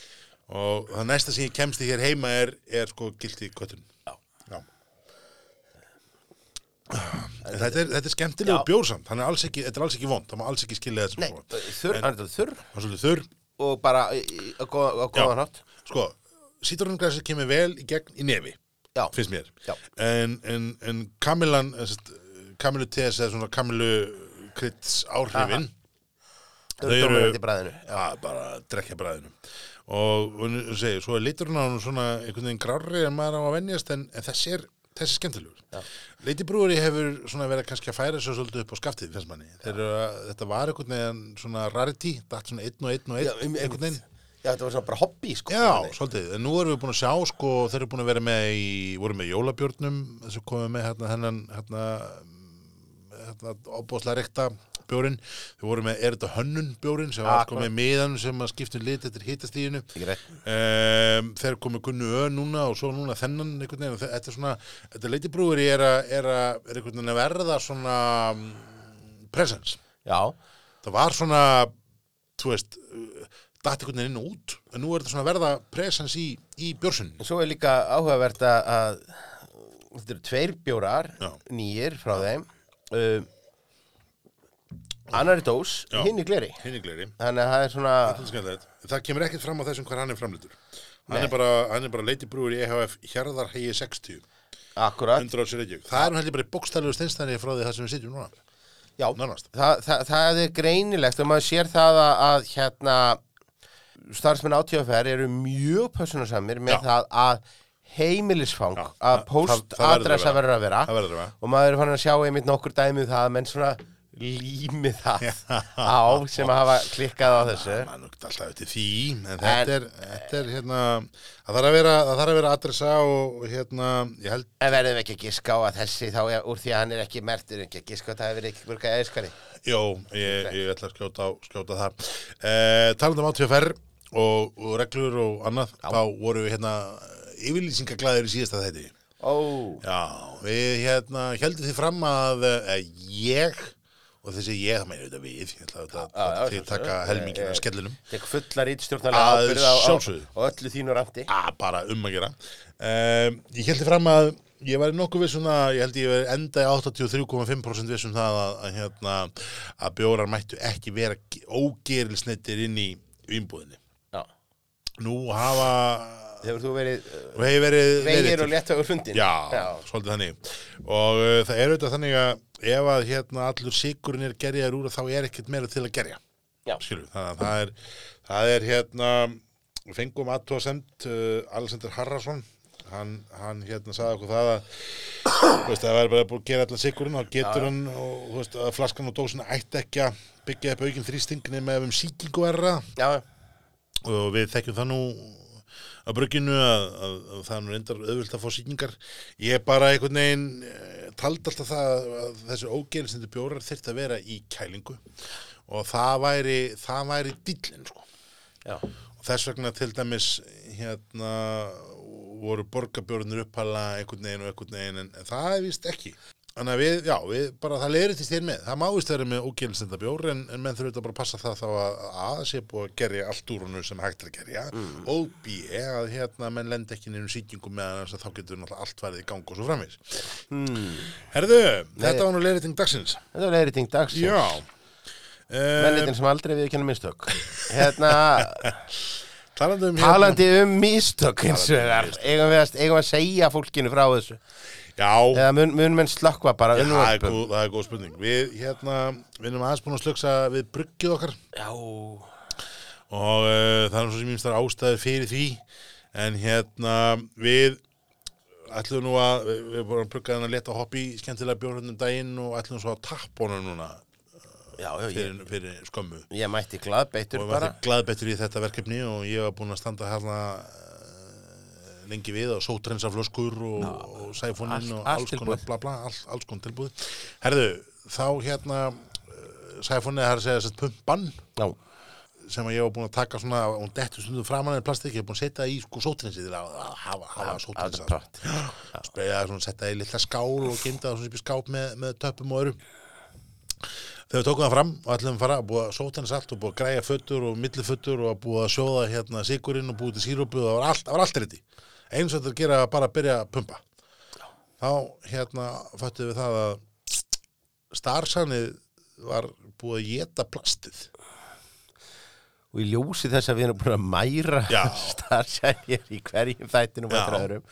Speaker 1: og það næsta sem ég kemst í hér heima er, er sko gildi kvötun já, já. En Þetta er, þetta er skemmtilegu
Speaker 2: Já.
Speaker 1: bjórsamt, hann er alls ekki, þetta er alls ekki vond, það má alls ekki skilja þetta
Speaker 2: nei,
Speaker 1: sem vond.
Speaker 2: þurr, hann er þetta þurr
Speaker 1: Það er svolítið þurr,
Speaker 2: og bara í- í- á góð- á góðan hátt
Speaker 1: sko, sítrónugræsir kemur vel í gegn í nefi,
Speaker 2: Já.
Speaker 1: finnst mér.
Speaker 2: Já.
Speaker 1: En, en, en kamilan, kamilu TS eða svona kamilu krits áhrifin,
Speaker 2: þurr
Speaker 1: Þau eru-
Speaker 2: dóminandi bræðinu
Speaker 1: að bara drekja bræðinu. Og, og nú segi, svo er liturinn á hann svona einhvern veginn grárri en maður á að venjast en, en þessi er, þessi er
Speaker 2: Já.
Speaker 1: skemmtilegur. Leitibrúri hefur svona verið kannski að færa sér svolítið upp á skaftið, finnst manni. Þeir, eru að- þetta var einhvern veginn svona rarity, datt svona einn og einn og einn,
Speaker 2: Já, um-
Speaker 1: einhvern veginn.
Speaker 2: já, þetta var svona bara hobby sko,
Speaker 1: Já, svolítið, en nú erum við búin að sjá sko, þeir eru búin að vera með í, voru með jólabjörnum sem komið með hérna hennan hérna, hérna opbóðslega reykta bjórin við vorum með, er þetta hönnun bjórin sem var sko
Speaker 2: Akkurat.
Speaker 1: með miðan sem að skiptum lit eftir hitastíðinu
Speaker 2: Ekki rétt.
Speaker 1: um, þeir komið gunnu ö núna og svo núna þennan einhvern veginn, Þe- þetta er svona þetta leitibrúður er, a, er, a, er einhvern veginn að verða svona mm, presence
Speaker 2: já,
Speaker 1: það var svona þú veist, datt einhvern veginn inn og út en nú er þetta svona að verða presens í, í björsunni
Speaker 2: en svo er líka áhugavert að, að þetta eru tveir bjórar
Speaker 1: Já.
Speaker 2: nýjir frá þeim um, annar er dós,
Speaker 1: Já.
Speaker 2: hinn er gleri
Speaker 1: hinn í gleri,
Speaker 2: þannig að það er svona
Speaker 1: þetta er skemmtilegt. það kemur ekkert fram á þessum hvað hann er framleitur hann er bara, hann er bara leitibrúður í E EHF Hjarðar hegi 60,
Speaker 2: akkurat
Speaker 1: 100 árs í Reykjavík það er hann heldur bara í bókstælugu steinstæni frá því það sem við sitjum núna
Speaker 2: Já,
Speaker 1: Nánast.
Speaker 2: það, það, það er greinilegt og maður sér það að, að hérna, starfsmenn átíðafær eru mjög personarsamir með
Speaker 1: Já.
Speaker 2: það að heimilisfang
Speaker 1: Já, það- það- það verður
Speaker 2: að
Speaker 1: að
Speaker 2: postadressa
Speaker 1: vera.
Speaker 2: verður að vera
Speaker 1: Það verður að vera.
Speaker 2: og maður er fann að sjá einmitt nokkur dæmið það að menn svona lími það á sem að hafa klikkað á þessu
Speaker 1: mann er ekkert alltaf eftir því en þetta er, þetta er hérna það þarf að vera, það þarf að vera adressa og og hérna, ég held
Speaker 2: En verðum við ekki að giska á að þessi þá er, úr því að hann er ekki mertur ekki að giska á að það hefur ekki mörg að eiskari
Speaker 1: Jó, ég, ég ætla að skjóta, á, skjóta það. Eh, Talandum átjöfer og, og reglur og annað, þá voru við hérna yfirlýsingaglæðir í síðasta þætti.
Speaker 2: Ó,
Speaker 1: Já, við hérna heldum því fram að eh, ég, og þessi ég, það meina auðvitað við, ég ætla að, að,
Speaker 2: já,
Speaker 1: að þið
Speaker 2: sjálfsögðu.
Speaker 1: taka helmingina
Speaker 2: Eh, eh.
Speaker 1: af skellinum.
Speaker 2: tek fullar ítstjórnarlega
Speaker 1: Að
Speaker 2: ábyrð á, á,
Speaker 1: sjálfsögðu.
Speaker 2: á öllu þínu randi
Speaker 1: að bara um að gera um, ég held því fram að ég væri nokkuð vissum að ég held ég væri enda í 83,5% vissum um það að, að, hérna, að bjórar mættu ekki vera ógerilsneittir inn í umbúðinni
Speaker 2: Já
Speaker 1: nú hafa
Speaker 2: Hefur þú verið uh,
Speaker 1: og hefur verið
Speaker 2: vegir
Speaker 1: leiðréttur.
Speaker 2: og léttvægur hundin?
Speaker 1: Já, svolítið þannig og uh, það er auðvitað þannig að ef að hérna allur sigurinn er gerjaður úr þá er ekkert meira til að gerja
Speaker 2: Já.
Speaker 1: Skilur, þannig að það er, það er hérna við fengum aðtóðsend uh, Alexander Harrason hann, hann hérna sagði okkur það að þú veist, það er bara búið að gera allan sigurinn og getur hann og þú veist, að flaskan og dósin ætti ekki að byggja upp aukinn þrýstingni með um sýkingu erra
Speaker 2: Já, já.
Speaker 1: og við þekkjum það nú að brugginu að, að, að það er nú reyndar auðvilt að fá sýningar ég bara einhvern veginn eh, taldi alltaf það að þessi ógeilsindu bjórar þyrfti að vera í kælingu og það væri, það væri dýllin sko.
Speaker 2: já.
Speaker 1: og þess vegna til dæmis hérna voru borgarbjórnir upphala einhvern veginn og einhvern veginn en, en það er vist ekki Þannig að við, já, við bara, það leiður til þér með. Það má vist vera með ógjölinstenda bjór en, en menn þurfa þetta bara að passa það þá að að sé búið að gerja allt úr húnu sem hægt er að gerja og b, að hérna menn lend ekki nefnum sýkingu með hans að þá getur náttúrulega allt værið í gang og svo framvís. Herðu, þetta var nú leiðriting dagsins.
Speaker 2: Hmm. Þetta var leiðriting dagsins.
Speaker 1: Já. Uh,
Speaker 2: Mennitin sem aldrei við
Speaker 1: [LAUGHS]
Speaker 2: kennum mistök. Hérna,
Speaker 1: talandi um
Speaker 2: talandi um mistök hins
Speaker 1: Talandi um
Speaker 2: vegar.
Speaker 1: mistök.
Speaker 2: Eigum við að, eigum við að segja fólkinu frá þessu.
Speaker 1: hérna- Já,
Speaker 2: Eða mun, mun menn slökkva
Speaker 1: Já,
Speaker 2: bara
Speaker 1: það er,
Speaker 2: unnvörpum.
Speaker 1: góð, það er góð spurning Við hérna, við erum aðeins búin að slöksa við bryggjuð okkar
Speaker 2: Já.
Speaker 1: og uh, það er svo sem ímstar ástæði fyrir því en hérna, við ætlum nú að, við, við erum búin að brugga þennan leta hoppi skemmtilega bjórhundum daginn og ætlum svo að tappa honum núna
Speaker 2: Já, já, ég,
Speaker 1: fyrir, fyrir skömmu
Speaker 2: ég mætti glaðbeittur
Speaker 1: og við
Speaker 2: bara.
Speaker 1: erum glaðbettur í þetta verkefni og ég var búin að standa hérna eh, lengi við og sótrensa flöskur og, og sæfónin
Speaker 2: allt-
Speaker 1: og
Speaker 2: allt
Speaker 1: alls konar
Speaker 2: tilbúið.
Speaker 1: bla bla, alls, alls konar tilbúið herðu, þá hérna eh, sæfónin er að segja þess að pumpan
Speaker 2: Já,
Speaker 1: sem að ég var búin að taka svona og hún dettur stundum framan en plastik ég er búin að setja í sko sótrensið til að að hafa, hafa
Speaker 2: allt
Speaker 1: sótrensað
Speaker 2: pratt.
Speaker 1: spreyja það svona, setja það í litla skál og gynda það svona upp í skáp með, með töpum og öru þegar við tókum það fram og ætlum að fara að búa að sóta hans allt og búa að græja föttur og milliföttur og að búa að sjóða hérna sigurinn og búið til sírópu og það var allt, það var allt reyti eins og þetta að gera var bara að byrja að pumpa þá hérna föttum við það að starsanið var búið að geta plastið
Speaker 2: Og í ljósi þess að við erum búin að mæra
Speaker 1: Já.
Speaker 2: [LAUGHS] starfsæðir í hverjum þættinum og
Speaker 1: Já.
Speaker 2: eftir öðrum.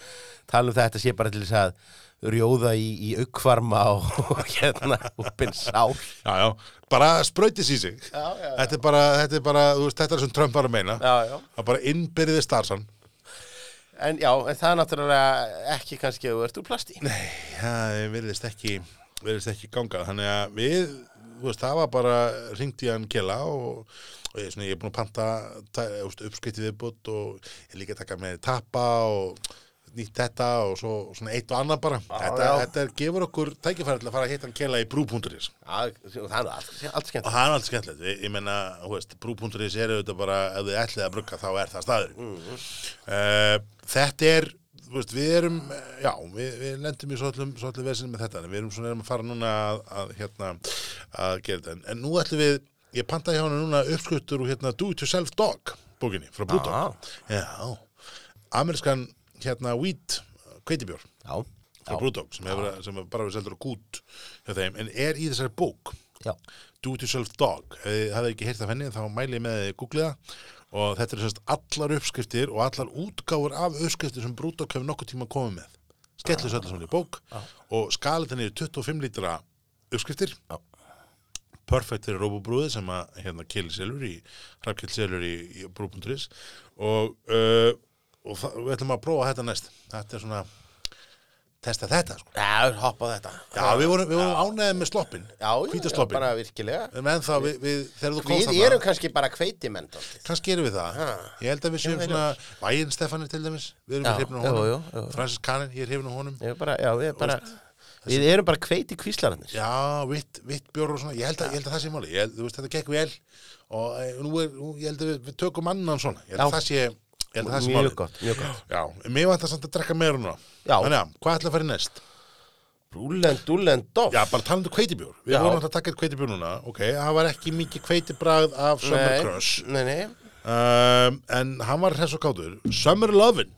Speaker 2: Talum þetta sé bara til þess að rjóða í, í aukvarma og, [LAUGHS] og hérna uppin sál.
Speaker 1: já, já, bara sprautis í sig
Speaker 2: Já, já, já.
Speaker 1: þetta er bara, þetta er bara, þú veist, þetta er sem Trump var að meina
Speaker 2: Já, já.
Speaker 1: það bara innbyrðið starsan
Speaker 2: En já, en það er náttúrulega ekki kannski að þú ert úr plasti. Nei.
Speaker 1: Það verðist ekki, verðist ekki ganga þannig að við, þú veist, það var bara ringt í hann kjela og, og ég, svona, ég er búin að panta ta- þú veist, uppskritti viðbútt og ég er líka að taka með tappa og nýtt þetta og svo svona eitt og annað bara þetta,
Speaker 2: já.
Speaker 1: þetta er, gefur okkur tækifæri til að fara að hitta hann kjela í brú.is
Speaker 2: Það er nú allt, allt skemmt.
Speaker 1: og það er allt skemmtilegt, ég, ég menna brú.is er auðvitað bara, ef þið ætlið að brugga þá er það staður
Speaker 2: Mhm.
Speaker 1: uh, þetta er þú veist, við erum, eh, já, við, við lendum í svolítið, svolítið vesinu með þetta en við erum svona erum að fara núna að, að, hérna, að gera þetta, en, en nú ætlum við ég pantaði hjá hann núna uppskuttur og hérna Do It Yourself Dog bókinni frá Blue Dog já, amerískan hérna Wheat kveitibjór
Speaker 2: Já,
Speaker 1: frá
Speaker 2: já,
Speaker 1: Blue Dog sem, hefur, sem er bara við seldur og kút hjá þeim, en er í þessari bók
Speaker 2: já.
Speaker 1: Do It Yourself Dog Ef þið hafið ekki heyrt af henni þá mæli ég með því að googla það og þetta er semst allar uppskriftir og allar útgáfur af uppskriftir sem Brúdok hefur nokkuð tíma komið með skellu
Speaker 2: Ah.
Speaker 1: þessu öllu saman í bók og skalið henni er 25 lítra uppskriftir
Speaker 2: Já.
Speaker 1: Perfect fyrir Róbubrúði sem að hérna Kili Silfur í Hrafkill Silfur í, í Brú.is og, uh, og það, við ætlum að prófa þetta næst þetta er svona testa þetta sko.
Speaker 2: Já, hoppa á þetta.
Speaker 1: Já, við vorum, við vorum ánæðið með sloppin
Speaker 2: Ah. já, já, já,
Speaker 1: hvítasloppin
Speaker 2: bara virkilega.
Speaker 1: En menn þá, Um við, við, þegar þú komst
Speaker 2: Við
Speaker 1: þarna,
Speaker 2: erum kannski bara kveitimenn. dálítið.
Speaker 1: kannski erum við það.
Speaker 2: Ha.
Speaker 1: Ég held að við séum
Speaker 2: Já,
Speaker 1: svona, Vægin Stefanir til dæmis, við erum
Speaker 2: Já,
Speaker 1: við hrifnum
Speaker 2: jú,
Speaker 1: honum.
Speaker 2: jú, jú.
Speaker 1: Francis Cannon, ég er hrifnum honum.
Speaker 2: Við erum bara, já, við erum bara, við erum bara kveiti kvíslarannir.
Speaker 1: Já, vitt, vitt bjór og svona, ég held að, ég held að það sé máli. Ég held, þú veist, þetta gekk vel og e, nú er, nú, ég held að við, við tökum annan svona. Ég held
Speaker 2: Já.
Speaker 1: að það sé, ég held að það sé máli.
Speaker 2: Mjög gott, mjög gott.
Speaker 1: Já, en mér vant að samt að drekka meira núna.
Speaker 2: Já.
Speaker 1: Þannig að, hvað ætla að fara í næst?
Speaker 2: Rúlen, dúlen, doff.
Speaker 1: Já, bara talandi um kveitibjór. Við
Speaker 2: Já.
Speaker 1: vorum alltaf að taka eitt kveitibjór núna, ok, það var ekki mikið kveitibræð af Summer Crush.
Speaker 2: Nei, nei,
Speaker 1: Um, en hann var hress og kátur. Summer Lovin'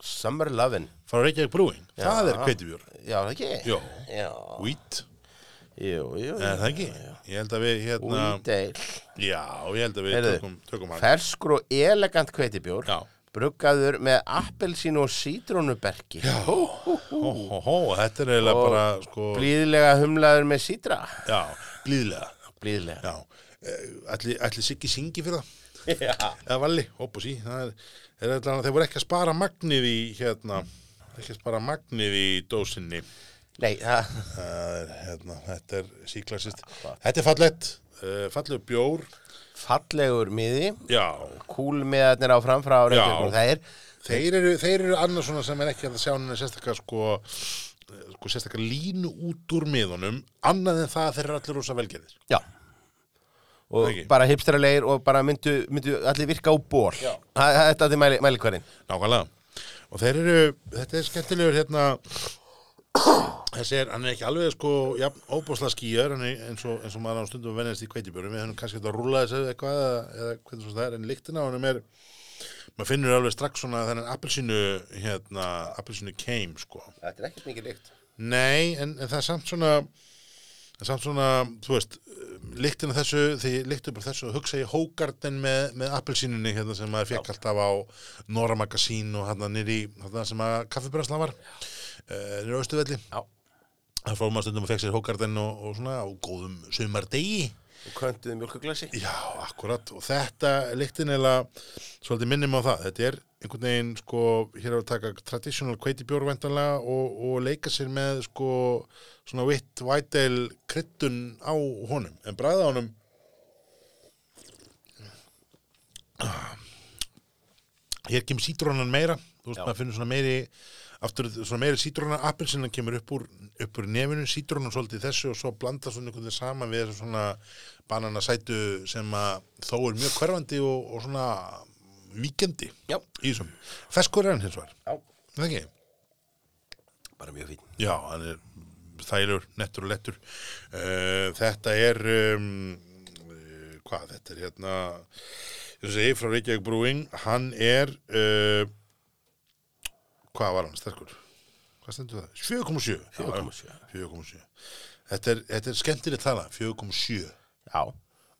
Speaker 2: Summer Lovin.
Speaker 1: frá Reykjavík Brewing. Það
Speaker 2: Já.
Speaker 1: er kveitibjór.
Speaker 2: Já, það ekki?
Speaker 1: Jó.
Speaker 2: Já,
Speaker 1: Wheat,
Speaker 2: jú, jú.
Speaker 1: er hérna- það ekki? Ég held að við hérna,
Speaker 2: Údeil.
Speaker 1: já, ég held að við
Speaker 2: Heyrðu,
Speaker 1: tökum, tökum hann.
Speaker 2: Ferskur og elegant kveitibjór.
Speaker 1: Já,
Speaker 2: bruggaður með appelsín og sítrónuberki hú, hú, hú.
Speaker 1: Hó, hó, hó, þetta er eiginlega
Speaker 2: Og
Speaker 1: bara, sko,
Speaker 2: blíðlega humlaður með sítra
Speaker 1: já, blíðlega,
Speaker 2: blíðlega
Speaker 1: já. Eh, Ætli, ætli Siggi syngi fyrir það?
Speaker 2: [LAUGHS] já.
Speaker 1: Eða Valli, hopp og sí. Það er, er allan að þeir voru ekki að spara magnið í, hérna, ekki að spara magnið í dósinni.
Speaker 2: nei, það
Speaker 1: Það er, hérna, þetta er síklassist. Þetta er fallett, uh, Ah, fallegu bjór,
Speaker 2: fallegur miði
Speaker 1: já.
Speaker 2: kúlmiðarnir á framfrá Reykjavíkur. það er
Speaker 1: Þeir eru, þeir eru annars svona sem er ekki hægt að sjá henni sérstakar, sko, eh, sko sérstakar línu út úr miðunum, annað en það að þeir eru allir rosa velgerðir.
Speaker 2: Já Og
Speaker 1: Ekki?
Speaker 2: bara hipsterlegir og bara myndu, myndu allir virka á ból
Speaker 1: Já.
Speaker 2: Það- það- Þetta er mæli, mælikvarinn
Speaker 1: Nákvæmlega. Og þeir eru, þetta er skemmtilegur hérna, þessi er, hann er ekki alveg sko, já, óbúslega skýjar, hann er eins og, eins og maður á stundum venjast í kveitibjörnum, við hann kannski þetta rúla þessu eitthvað, eða, eða hvernig svo það er, en lyktina á hann er, maður finnur alveg strax svona þennan appelsínu, hérna, appelsínu keim, sko.
Speaker 2: Þetta er ekkert mikið líkt
Speaker 1: Nei, en, en það er samt svona, en samt svona, þú veist, lyktina þessu, því lyktu bara þessu og hugsa ég hógarden með, með appelsínunni hérna sem maður fekk alltaf á Nora Magazine og hérna nýri, hérna sem að kaffibræðsla var, uh, nýri austuvelli.
Speaker 2: Já.
Speaker 1: Það fór maður stundum og fekk sér hógarden og, og svona á góðum sömardegi.
Speaker 2: Og köntuðu mjölkuglasi
Speaker 1: Já, akkurat og þetta lyktin eða svolítið minnum á það þetta er einhvern veginn sko hér á að taka traditional kveitibjór væntanlega og, og leika sér með sko svona vitt vætel kryddun á honum en bræða honum hér kemur sítrónan meira þú veist,
Speaker 2: Já.
Speaker 1: maður finnur svona meiri aftur, svona meiri sítrónan, appelsinan kemur upp úr, upp úr nefinu, sítrónan svolítið í þessu og svo blanda svona einhvern veginn saman við þessu svona bananasætu sem að þó er mjög hverfandi og, og svona víkendi
Speaker 2: Já.
Speaker 1: í þessum, feskur er hann hins vegar
Speaker 2: Já,
Speaker 1: er það ekki?
Speaker 2: bara mjög fín
Speaker 1: Já, hann er þælur, nettur og lettur. Uh, þetta er, um, uh, hvað þetta er hérna, ég segi frá Reykjavík Brewing, hann er, uh, hvað var hann sterkur? Hvað stendur það? 4,7.
Speaker 2: 4,7.
Speaker 1: 4,7. Þetta er, þetta er skemmtilegt tala, 4,7.
Speaker 2: Já,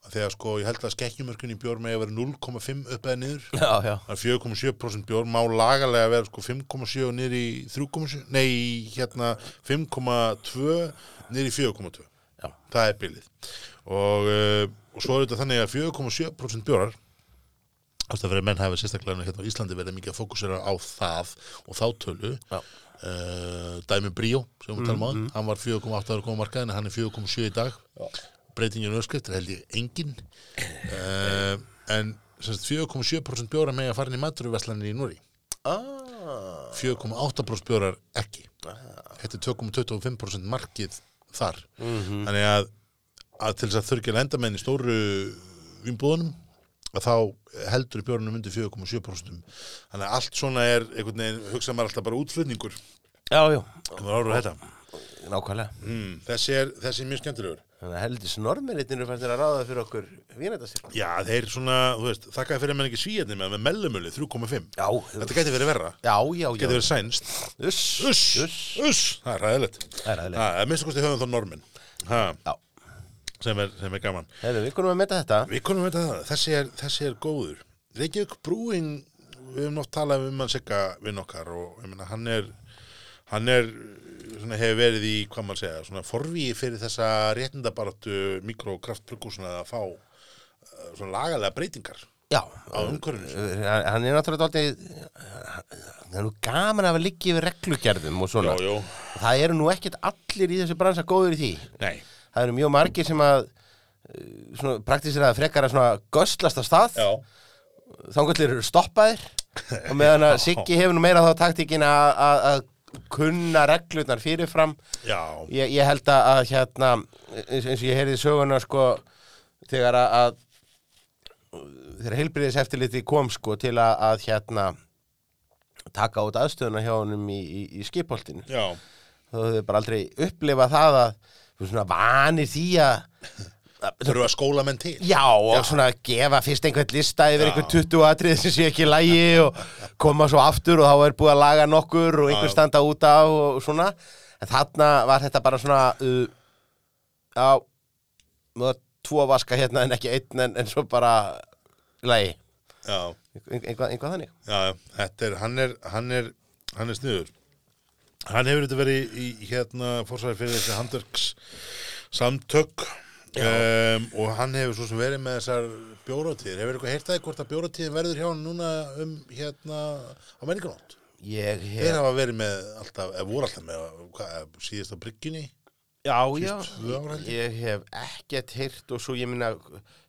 Speaker 1: Af Þegar sko, ég held að skekkjumörkunni í bjór með að vera 0,5 upp eða niður.
Speaker 2: já, já
Speaker 1: Það er 4,7% bjór má lagalega vera sko 5,7 og niður í 3,7, nei, í hérna 5,2 niður í 4,2.
Speaker 2: Já.
Speaker 1: Það er bilið. Og, uh, og svo er þetta þannig að 4,7% bjórar, ástæða fyrir að menn hafa sérstaklega hérna á Íslandi verið mikið að fókusera á það og þá tölu.
Speaker 2: Já.
Speaker 1: Uh, Dæmi Bríó, sem við talum á, hann var 4,8 ára koma markaðin, hann er 4,7 í dag. Já. Breytingin öskrift er held ég engin. Uh, en sem sagt, 4,7% bjórar með að fara inn í maturvæslanin í Núri.
Speaker 2: ah.
Speaker 1: 4,8% bjórar ekki þetta er 2,25% markið þar þannig að, að til þess að þurfi ekki að enda með henni í stóru vinnbúðunum að þá heldur í bjórnum undir 4,7% þannig að allt svona er einhvern veginn, hugsa maður alltaf bara útflutningur
Speaker 2: Já, já,
Speaker 1: en það ára þetta
Speaker 2: nákvæmlega
Speaker 1: mm, þessi, er, þessi er mjög skemmtilegur
Speaker 2: Þannig að heldur þessi normirinnir er fættir að ráða fyrir okkur vínættasirk
Speaker 1: já, þeir svona, þú veist, þakkaði fyrir að menn ekki svíjarni með, með mellumölu 3,5
Speaker 2: Já,
Speaker 1: þetta gæti verið verra,
Speaker 2: já, já,
Speaker 1: gæti
Speaker 2: já
Speaker 1: verið sænst
Speaker 2: Uss,
Speaker 1: uss, uss, það er ræðilegt
Speaker 2: Það er ræðilegt.
Speaker 1: að minnstu kosti höfum þá normin ha,
Speaker 2: Já,
Speaker 1: sem, er, sem er gaman
Speaker 2: hefur við konum að meta þetta
Speaker 1: Við konum veit að það, þessi er, þessi er góður. Reykjavík Brúing, við höfum nátt talað um hann sigga vinn okkar og ég meina, hann er, hann er, svona, hefur verið í, hvað maður segja, svona forvíi fyrir þessa réttindabaratu mikrokraftbrugúsuna að fá eh, svona lagalega breytingar
Speaker 2: Já,
Speaker 1: á umhverfinu. sínu.
Speaker 2: hann hann er náttúrulega dálítið það er nú gaman að vera liggi yfir reglugerðum og svona
Speaker 1: Já, jú.
Speaker 2: það eru nú ekkert allir í þessu bransa góður í því
Speaker 1: Nei.
Speaker 2: það eru mjög margir sem að eh, svona, praktísir að frekar að svona göslast á stað
Speaker 1: Já.
Speaker 2: þangullir eru stoppaðir og meðan að Siggi hefur nú meira þá taktíkin að, að, að kunna reglurnar fyrirfram
Speaker 1: Já.
Speaker 2: ég, ég held að, að hérna eins, eins og ég heyrði söguna sko þegar að, að þegar heilbriðis eftirliti kom sko til að, að hérna taka út aðstöðuna hjá honum í, í, í skipholtinu
Speaker 1: Já.
Speaker 2: þá höfðu bara aldrei upplifað það að þú veist, svona vanir því að
Speaker 1: Þurfum við að skóla menn til.
Speaker 2: Já, og svona gefa fyrst einhvern lista yfir
Speaker 1: Já.
Speaker 2: einhvern 20 atrið sem sé ekki í lagi og koma svo aftur og þá er búið að laga nokkur og einhver
Speaker 1: Já.
Speaker 2: standa út af og svona. En þarna var þetta bara svona, uh, já, maður tvo vaska hérna en ekki einn en, en svo bara í lagi.
Speaker 1: Já.
Speaker 2: einhvað, einhvað þannig
Speaker 1: Já, þetta er, hann er, hann er, hann er sniður. Hann hefur þetta verið í, í hérna fórsæði fyrir þessi handverks samtök um, og hann hefur svo sem verið með þessar bjóratíðir. Hefur eitthvað heyrt að því hvort að bjóratíðin verður hjá hann núna um hérna á menningarnótt?
Speaker 2: Ég hef
Speaker 1: Þeir hafa verið með alltaf, eða voru alltaf með hvað, síðast á bryggjunni?
Speaker 2: Já, já,
Speaker 1: tvö ár, held ég.
Speaker 2: ég hef ekkert heyrt og svo ég minna,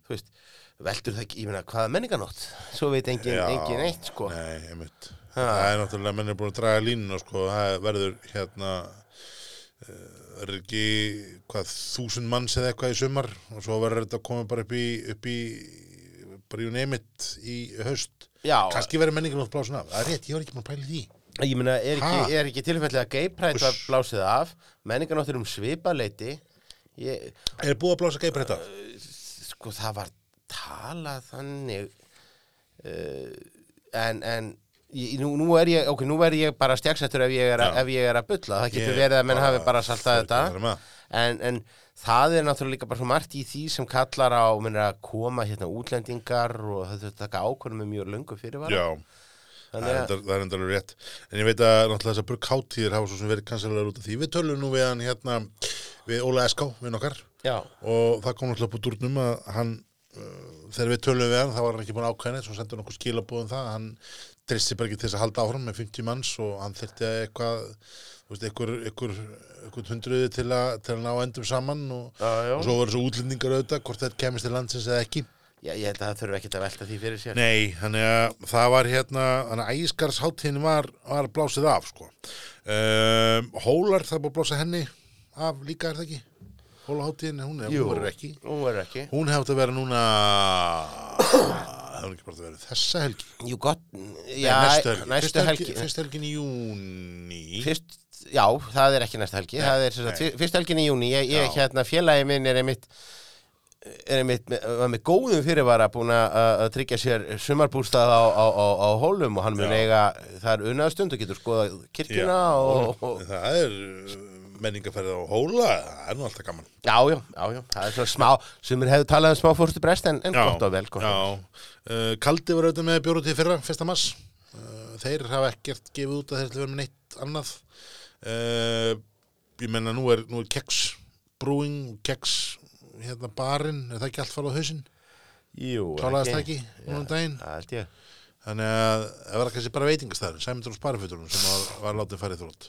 Speaker 2: þú veist, veldur það ekki, ég minna, hvaða menninganótt? Svo veit engin,
Speaker 1: Já,
Speaker 2: engin eitt, sko.
Speaker 1: Nei, einmitt.
Speaker 2: Ha.
Speaker 1: Það er náttúrulega, menn er búin að draga línuna, sko, það verður hérna, eh, er ekki, hvað, þúsund manns eða eitthvað í sumar og svo verður þetta að koma bara upp í, upp í, bara í neymit í haust.
Speaker 2: Já,
Speaker 1: Kanski verður menningin átt blásin af. Það er rétt, ég var ekki búin að pæla í því.
Speaker 2: ég minna, er
Speaker 1: Ha?
Speaker 2: ekki, er ekki tilfellið að geiprætt var
Speaker 1: Uss.
Speaker 2: blásið af, menninganótt er um svipaleiti, ég,
Speaker 1: Er búið að blása geiprætt af?
Speaker 2: sko, það var talað þannig, uh, en, en, Ég, nú, nú, er ég, ok, nú er ég bara stjagsættur ef ég er, að-
Speaker 1: Já.
Speaker 2: ef ég er að bulla það getur
Speaker 1: Ég
Speaker 2: verið að menn
Speaker 1: bara
Speaker 2: hafi bara saltað
Speaker 1: fer ekki
Speaker 2: þetta
Speaker 1: að vera með.
Speaker 2: en, en það er náttúrulega líka bara svo margt í því sem kallar á mennir, að koma hérna útlendingar og það þurfti að taka ákvörðum með mjög löngu fyrirvara
Speaker 1: Já, það er
Speaker 2: Þannig að-
Speaker 1: endar- það er endalega rétt. En ég veit að náttúrulega þessar burkháttíðir hafa svo sem verið kannsælega út af því. Við tölum nú við hann hérna, við Óla Eská, við nokkar.
Speaker 2: já,
Speaker 1: og það kom náttúrulega upp úr durnum að hann uh, þegar við tölum við hann þá var hann ekki búin ákveðin svo sendur hann okkur skilabúðum um það hann tristi bara ekki til þess að halda áfram með 50 manns og hann þyrfti að eitthvað þú veist, einhver, einhver, einhver hundruði til að, til að ná endum saman og,
Speaker 2: já, já.
Speaker 1: og svo voru svo útlendingar auðvitað hvort þetta kemist til landsins eða ekki
Speaker 2: já ég held að það þurfi ekkert að velta því fyrir sér
Speaker 1: Nei, þannig að það var hérna, þannig að æskarsháttíðin var, var blásið af, sko. Um, Hólar, það er búið að blása henni af líka, er það ekki? Hólaháttíðin, hún er, hún verður ekki.
Speaker 2: hún verður ekki
Speaker 1: Hún hefði átt að vera núna Það hefði ekki bara að vera þessa helgi
Speaker 2: Jú, gott, já,
Speaker 1: Nei,
Speaker 2: næstu helgi,
Speaker 1: Fyrst helgin í júni
Speaker 2: Fyrst, já, það er ekki næsta helgi það er sem sagt, fyr- fyrst helgin í júni ég, ég
Speaker 1: Já.
Speaker 2: hérna, félagi minn er einmitt er einmitt, með- var með góðum fyrirvara búin að að tryggja sér sumarbústað á, á, á, á hólum og hann mun
Speaker 1: Já.
Speaker 2: eiga þar unnaðstund og getur skoðað kirkjuna
Speaker 1: Já,
Speaker 2: og, og,
Speaker 1: Það er menningaferðið á hóla Það er nú alltaf gaman
Speaker 2: já, já, já, já, það er svona smá sem er hefur talað um smá fórstu brest en, en gott og vel gott. og-
Speaker 1: já. Uh, Kaldi var auðvitað með bjórutíð fyrra, fyrsta mass uh, Þeir hafa ekkert gefið út að þeir ætli að vera með neitt annað uh, Ég menna nú er, nú er keks brúing, keks hérna barinn, er það ekki allt farið á hausinn?
Speaker 2: Jú,
Speaker 1: Klálaðist það ekki, núna um daginn?
Speaker 2: Það held ég
Speaker 1: Þannig að það var kannski bara veitingastæður, Sæmundur og Sparafjöturinn sem var, var látið farið þrótt.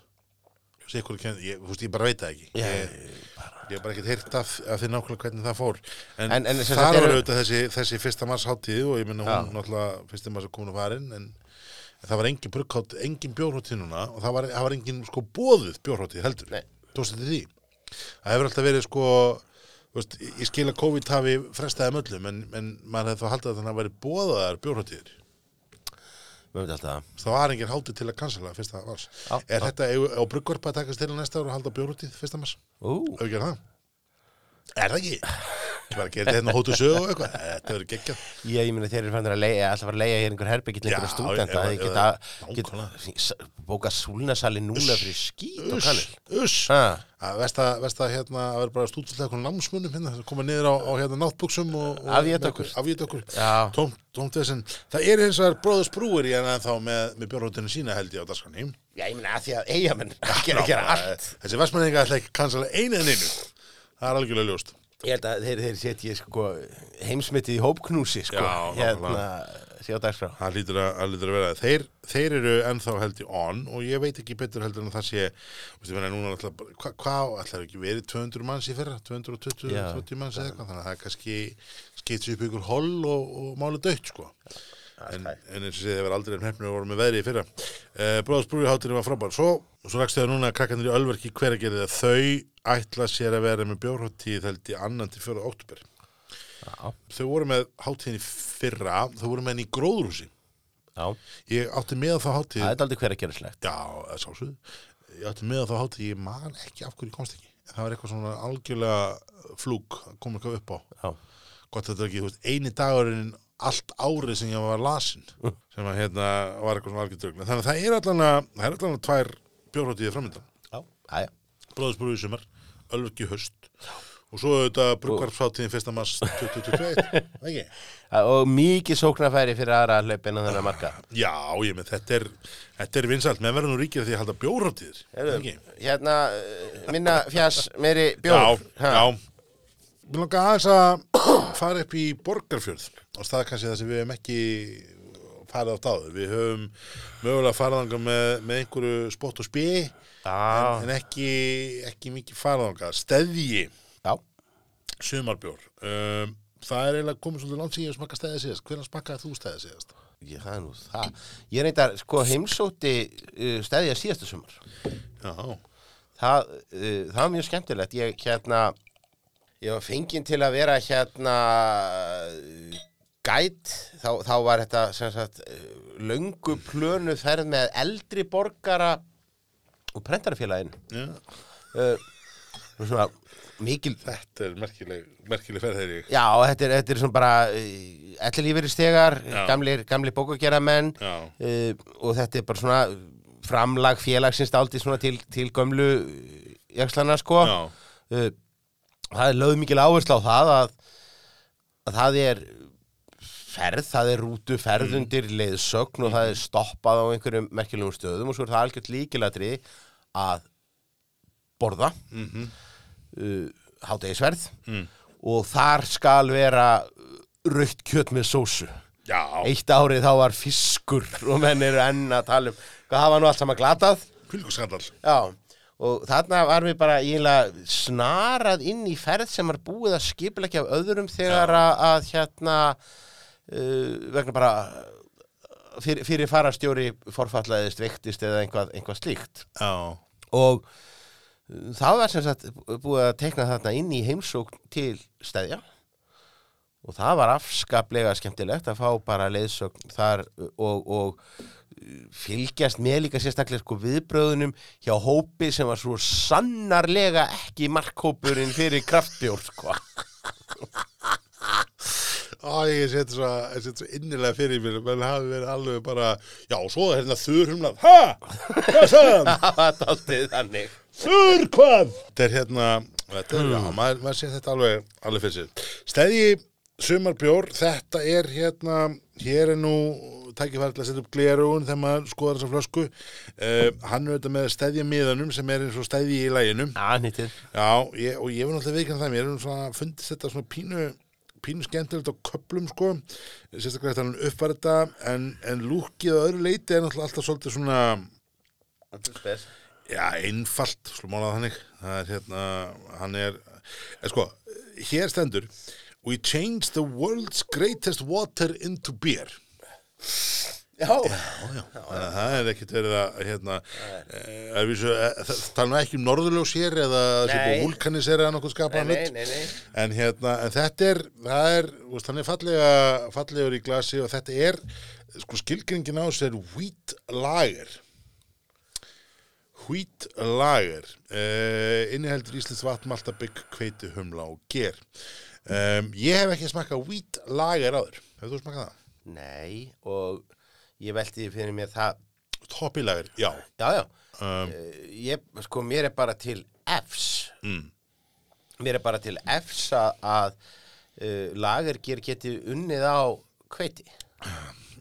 Speaker 1: Sér hvort kenn, ég, húst, ég bara veit það ekki.
Speaker 2: Já,
Speaker 1: Ég, ég hef bara ekkert heyrt af, af því nákvæmlega hvernig það fór. En,
Speaker 2: En- en sem sagt
Speaker 1: það
Speaker 2: eru-
Speaker 1: var auðvitað þessi, þessi fyrsta mars hátíð og ég minna hún
Speaker 2: Já.
Speaker 1: náttúrulega fyrsta mars að komin að farin en það var engin brukkhátt, engin bjórháttíð núna og það var, það var engin sko bóðuð bjórháttíð heldur.
Speaker 2: Nei.
Speaker 1: Tókstu eftir því. Það hefur alltaf verið sko, þú veist, ég skil að COVID hafi frestaði möllum en, en maður hefði þá haldið að þannig að veri bóðaðar bjórháttíðir.
Speaker 2: Við veitum alltaf það.
Speaker 1: Það var engin hátíð til að kansala fyrsta mars.
Speaker 2: Já,
Speaker 1: er þetta eigum- á bruggvarpa að takast til næsta ára og halda bjórútið fyrsta mars?
Speaker 2: Ú,
Speaker 1: Ef við gerum það? Er það ekki? Ég var að gera þetta hérna á hótu sögu og eitthvað. Þetta verður geggjað.
Speaker 2: ég, ég meina þeir eru fannir að leiga, alltaf var að leiga hér einhver herbyggill
Speaker 1: Já,
Speaker 2: einhverja stúdenta,
Speaker 1: ef-
Speaker 2: þeir
Speaker 1: ef-
Speaker 2: geta, geta
Speaker 1: nákvæmlega.
Speaker 2: s- bókað súlnasali núna fyrir skýt og kannir.
Speaker 1: Uss, uss.
Speaker 2: Ha.
Speaker 1: Að Vesta, vesta hérna að vera bara stúdvöldlega eitthvað námsmunum hérna, sem koma niður á, á hérna náttbuksum og, og
Speaker 2: Afjötakur.
Speaker 1: Afjötakur.
Speaker 2: Já.
Speaker 1: Tómt, tómt þessum. Það er hins vegar bróðus brúir í hérna þá með, með bjórhóttinu sína held ég á daskann heim.
Speaker 2: Já, ég meina að því að eiga menn gera, gera allt.
Speaker 1: Þessi vestmenninga ætla ekki kansala einu en einu. Það er algjörlega ljóst.
Speaker 2: Ég held að þeir, þeir setji sko, heimsmyndið í hópknúsi, sko,
Speaker 1: Já,
Speaker 2: hérna, sé á dagskrá.
Speaker 1: Það lítur að, að, lítur að vera þeir, þeir eru ennþá held í on og ég veit ekki betur heldur en að það sé veistu, menna, núna alltaf, hva, hvað ætlar ekki verið 200 manns í fyrra, 220
Speaker 2: Já.
Speaker 1: 30 manns eða eitthvað, þannig að það kannski skipt sér upp í ykkur holl og, og máli dött sko en, en eins og sé þeir verið aldrei en hefnir og voru með veðri í fyrra e, Bróðsbrúi hátirinn var frábær svo, svo rakstu það núna að krakkanir í Ölverki hver að gera þau ætla sér að vera með bjórháttíð held í annan til 4. oktober
Speaker 2: Já,
Speaker 1: þau voru með hátíðin í fyrra þau voru með henni í gróðrúsi
Speaker 2: já.
Speaker 1: Ég átti með á þá hátíð
Speaker 2: Það er aldrei hver að gera slegt.
Speaker 1: Já, það er sálsögð Ég átti með á þá hátíð, ég man ekki af hverju ég komst ekki En Það var eitthvað svona algjörlega uh, flúk kom eitthvað upp á
Speaker 2: Já.
Speaker 1: Gott þetta er ekki, þú veist, eini dagurinn allt árið sem ég var
Speaker 2: [LAUGHS]
Speaker 1: lasin sem að hérna var eitthvað svona algjör drögn Þannig að það er allan að, það er allan að tvær bjórháttíði framöndan
Speaker 2: Já. Já, já.
Speaker 1: Bróðsbrúi í sumar, Ölverki í haust og svo auðvitað brugvarpsfátíðin fyrsta mars 2021, ekki?
Speaker 2: og mikið sóknarfæri fyrir aðra hlaupin á þennan marka
Speaker 1: Já, ég með þetta er, þetta er vinsalt, menn verður nú ríkir að því að halda bjórhátíðir, ekki?
Speaker 2: hérna, eh, minna fjás meiri
Speaker 1: Já,
Speaker 2: bjór Ha.
Speaker 1: já. Mér langar aðeins að fara upp í Borgarfjörð og staða kannski það sem við hefum ekki farið átt áður. Við höfum mögulega farið þangað með, með einhverju spott og spi
Speaker 2: Já.
Speaker 1: en, en ekki, ekki mikið farið þangað. Steðji,
Speaker 2: já,
Speaker 1: sumarbjór. Um, það er eiginlega komið svolítið langt síðan að smakka steðið síðast. Hvernig smakkaði þú steðið síðast?
Speaker 2: ég, það er nú það ég reyndar sko heimsótti uh, stæðja síðasta sumar
Speaker 1: Já,
Speaker 2: það, uh, það var mjög skemmtilegt ég hérna ég var fenginn til að vera hérna gæt þá, þá var þetta sem sagt uh, löngu plönu ferð með eldri borgara og prentarfélagin
Speaker 1: já.
Speaker 2: uh, svona mikil
Speaker 1: Þetta er merkileg, merkileg ferð þegar ég.
Speaker 2: Já, þetta er, þetta er svona bara allir lífeyristegar,
Speaker 1: Já.
Speaker 2: gamlir, gamlir bókageramenn
Speaker 1: Já.
Speaker 2: uh, og þetta er bara svona framlag félagsins dálítið svona til, til gömlu jakslana sko
Speaker 1: Já,
Speaker 2: uh, það er lögð mikil áherslu á það að, að það er ferð, það er rútu ferð undir leiðsögn og það er stoppað á einhverjum merkilegum stöðum og svo er það algjört líkilatri að borða mm uh, hátegisverð mm. og þar skal vera raukt kjöt með sósu
Speaker 1: já.
Speaker 2: eitt árið þá var fiskur og menn eru enn að tala um hvað það var nú allt saman glatað
Speaker 1: Kvílgurskandal.
Speaker 2: Já, og þarna var við bara eiginlega snarað inn í ferð sem var búið að skipleggja af öðrum þegar að, að hérna uh, vegna bara fyrir, fyrir farastjóri forfallaðist, veiktist eða einhvað, einhvað slíkt
Speaker 1: Já,
Speaker 2: og uh, það var sem sagt búið að tekna þarna inn í heimsókn til stæðja og það var afskaplega skemmtilegt að fá bara leiðsögn þar og, og uh, fylgjast með líka sérstaklega sko viðbröðunum hjá hópi sem var svo sannarlega ekki markhópurinn fyrir kraftbjór sko. [LAUGHS]
Speaker 1: Á, ég set svo, ég set svo innilega fyrir mér, menn hafi verið alveg bara, já, svo er hérna þurrhumlað, ha, hvað sagðan,
Speaker 2: það var daldið þannig
Speaker 1: þurr hvað? Þetta er hérna, þetta er, já, maður, maður sé þetta alveg, alveg fyrir sér. Stæði sumarbjór, þetta er hérna, hér er nú tækifæri til að setja upp glerugun þegar maður skoðar þessa flösku. Uh, hann er auðvitað með stæðja miðanum sem er eins og stæðji í læginum.
Speaker 2: Já, nýttið
Speaker 1: Já, ég, og ég var náttúrulega viðkjörn það, mér erum svona fundist þetta svona pínu, pínu skemmtilegt á köplum sko, sérstaklega þetta er hann uppvarta, en, en lúkið að öðru leiti er náttúrulega alltaf svolítið svona, já, einfalt, slú málað þannig, það er hérna, hann er, er sko, hér stendur, we changed the world's greatest water into beer.
Speaker 2: Já,
Speaker 1: Já, já, þannig að það er ekkert verið að, hérna, eh, að vísu, eh, það tala nú ekki um norðurljós hér eða sem búið
Speaker 2: Nei.
Speaker 1: vulkanisera eða nokkuð skapaðan
Speaker 2: Nei, nei,
Speaker 1: hlut.
Speaker 2: nei, nei.
Speaker 1: En hérna, en þetta er, það er, þú veist, hann er fallega, fallegur í glasi og þetta er, sko skilgringin á þessu er wheat lager. Hvít lager uh, inniheldur Íslands vatn, maltabygg, kveiti, humla og ger um, Ég hef ekki smakkað hvít lager áður Hefur þú smakkað það?
Speaker 2: Nei, og ég velti því fyrir mér það
Speaker 1: Toppi lager, já
Speaker 2: Já, já.
Speaker 1: Um,
Speaker 2: Eh, ég, sko, mér er bara til Fs.
Speaker 1: Mm.
Speaker 2: Mér er bara til Fs að, að uh, lagergir geti unnið á kveiti.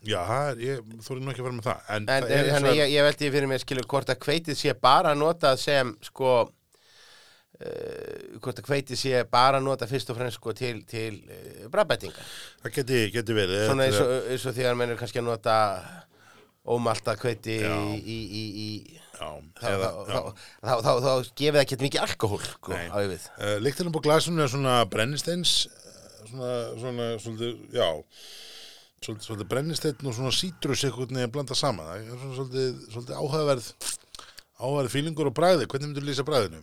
Speaker 1: Já, það er- ég þóri nú ekki að fara með það En,
Speaker 2: En eh,
Speaker 1: það er
Speaker 2: þannig
Speaker 1: svo,
Speaker 2: ég, ég veldi fyrir mér skilur hvort að kveitið sé bara notað sem, sko, uh, hvort að kveitið sé bara notað fyrst og fremst, sko, til, til uh, brabætinga.
Speaker 1: það geti, geti verið
Speaker 2: Svona
Speaker 1: Eh,
Speaker 2: eins
Speaker 1: Þetta
Speaker 2: og,
Speaker 1: er-
Speaker 2: eins og þegar menn er kannski að nota ómalta kveiti í, í, í, í
Speaker 1: Já,
Speaker 2: þá,
Speaker 1: eða,
Speaker 2: þá,
Speaker 1: já
Speaker 2: þá, þá, þá, þá gefið það ekki mikið alkohól sko,
Speaker 1: Nei.
Speaker 2: á yfir
Speaker 1: Uh, Líktilinn på glasinu er svona brennisteins eh, svona, svona, svolítið, já svolítið, svolítið brennisteinn og svona sítrus eitthvað neða blanda saman það er svona svolítið, svolítið áhugaverð áhugaverð fílingur og bræði, hvernig myndur lýsa bræðinu?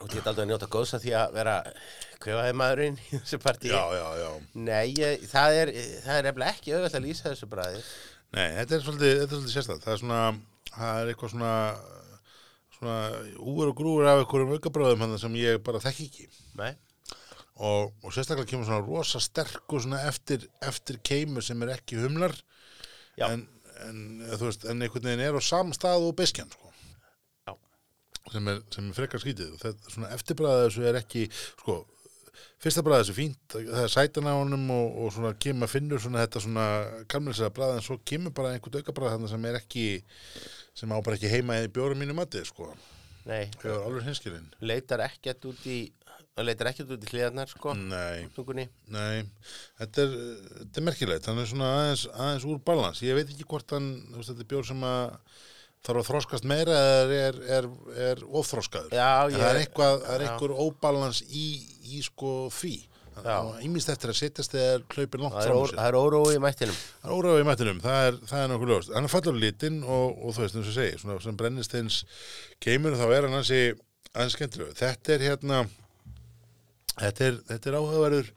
Speaker 2: og þetta er aldrei að njóta góðs að því að vera kvefaði maðurinn í þessu partí
Speaker 1: Já, já, já
Speaker 2: Nei, ég, það er það er nefnilega ekki auðvitað að lýsa þessu bræði
Speaker 1: Nei, þetta er svolítið, þetta er svolítið sérstætt það er svona, það er eitthvað svona svona úr og grúur af einhverjum aukabræðum hann sem ég bara þekki ekki
Speaker 2: Nei,
Speaker 1: og, og sérstaklega kemur svona rosa sterkur svona eftir, eftir keimur sem er ekki humlar
Speaker 2: Já.
Speaker 1: en, en, eða þú veist, en einhvern veginn er á sama stað og beiskjan sko.
Speaker 2: Já.
Speaker 1: sem er, sem er frekar skítið þetta, svona eftirbræða þessu er ekki sko, fyrsta bræða þessu er fínt það er sætan á honum og, og svona kemur finnur svona þetta svona kamlislega bræða en svo kemur bara einhvern auka bræða þarna sem er ekki sem á bara ekki heima í bjórum mínu mati sko,
Speaker 2: Nei,
Speaker 1: ég var alveg hinskilinn
Speaker 2: leitar ekkert út í hann leitar ekkert út í hliðarnar sko
Speaker 1: nei,
Speaker 2: tungunni,
Speaker 1: nei þetta er, þetta er merkilegt, hann er svona aðeins, aðeins úr balans, ég veit ekki hvort hann þú veist, þetta er bjór sem að þarf að þroskast meira eða er, er, er, er ofþroskaður
Speaker 2: Já,
Speaker 1: En það er
Speaker 2: ég-
Speaker 1: eitthvað, það er
Speaker 2: já.
Speaker 1: einhver óbalans í, í sko því
Speaker 2: Já.
Speaker 1: Ímist eftir að setjast þegar hlaupin langt
Speaker 2: það er,
Speaker 1: fram úr
Speaker 2: ór,
Speaker 1: sér.
Speaker 2: það er órói í mættinum
Speaker 1: Það er óræðu í mættinum, það er, það er nokkuð ljóst. Hann er fallur lítinn og, og þú veist, eins og ég segi, svona sem brennistins kemur þá er hann hansi aðeins skemmtilegur. Þetta er hérna, þetta er, þetta er áhugaverður,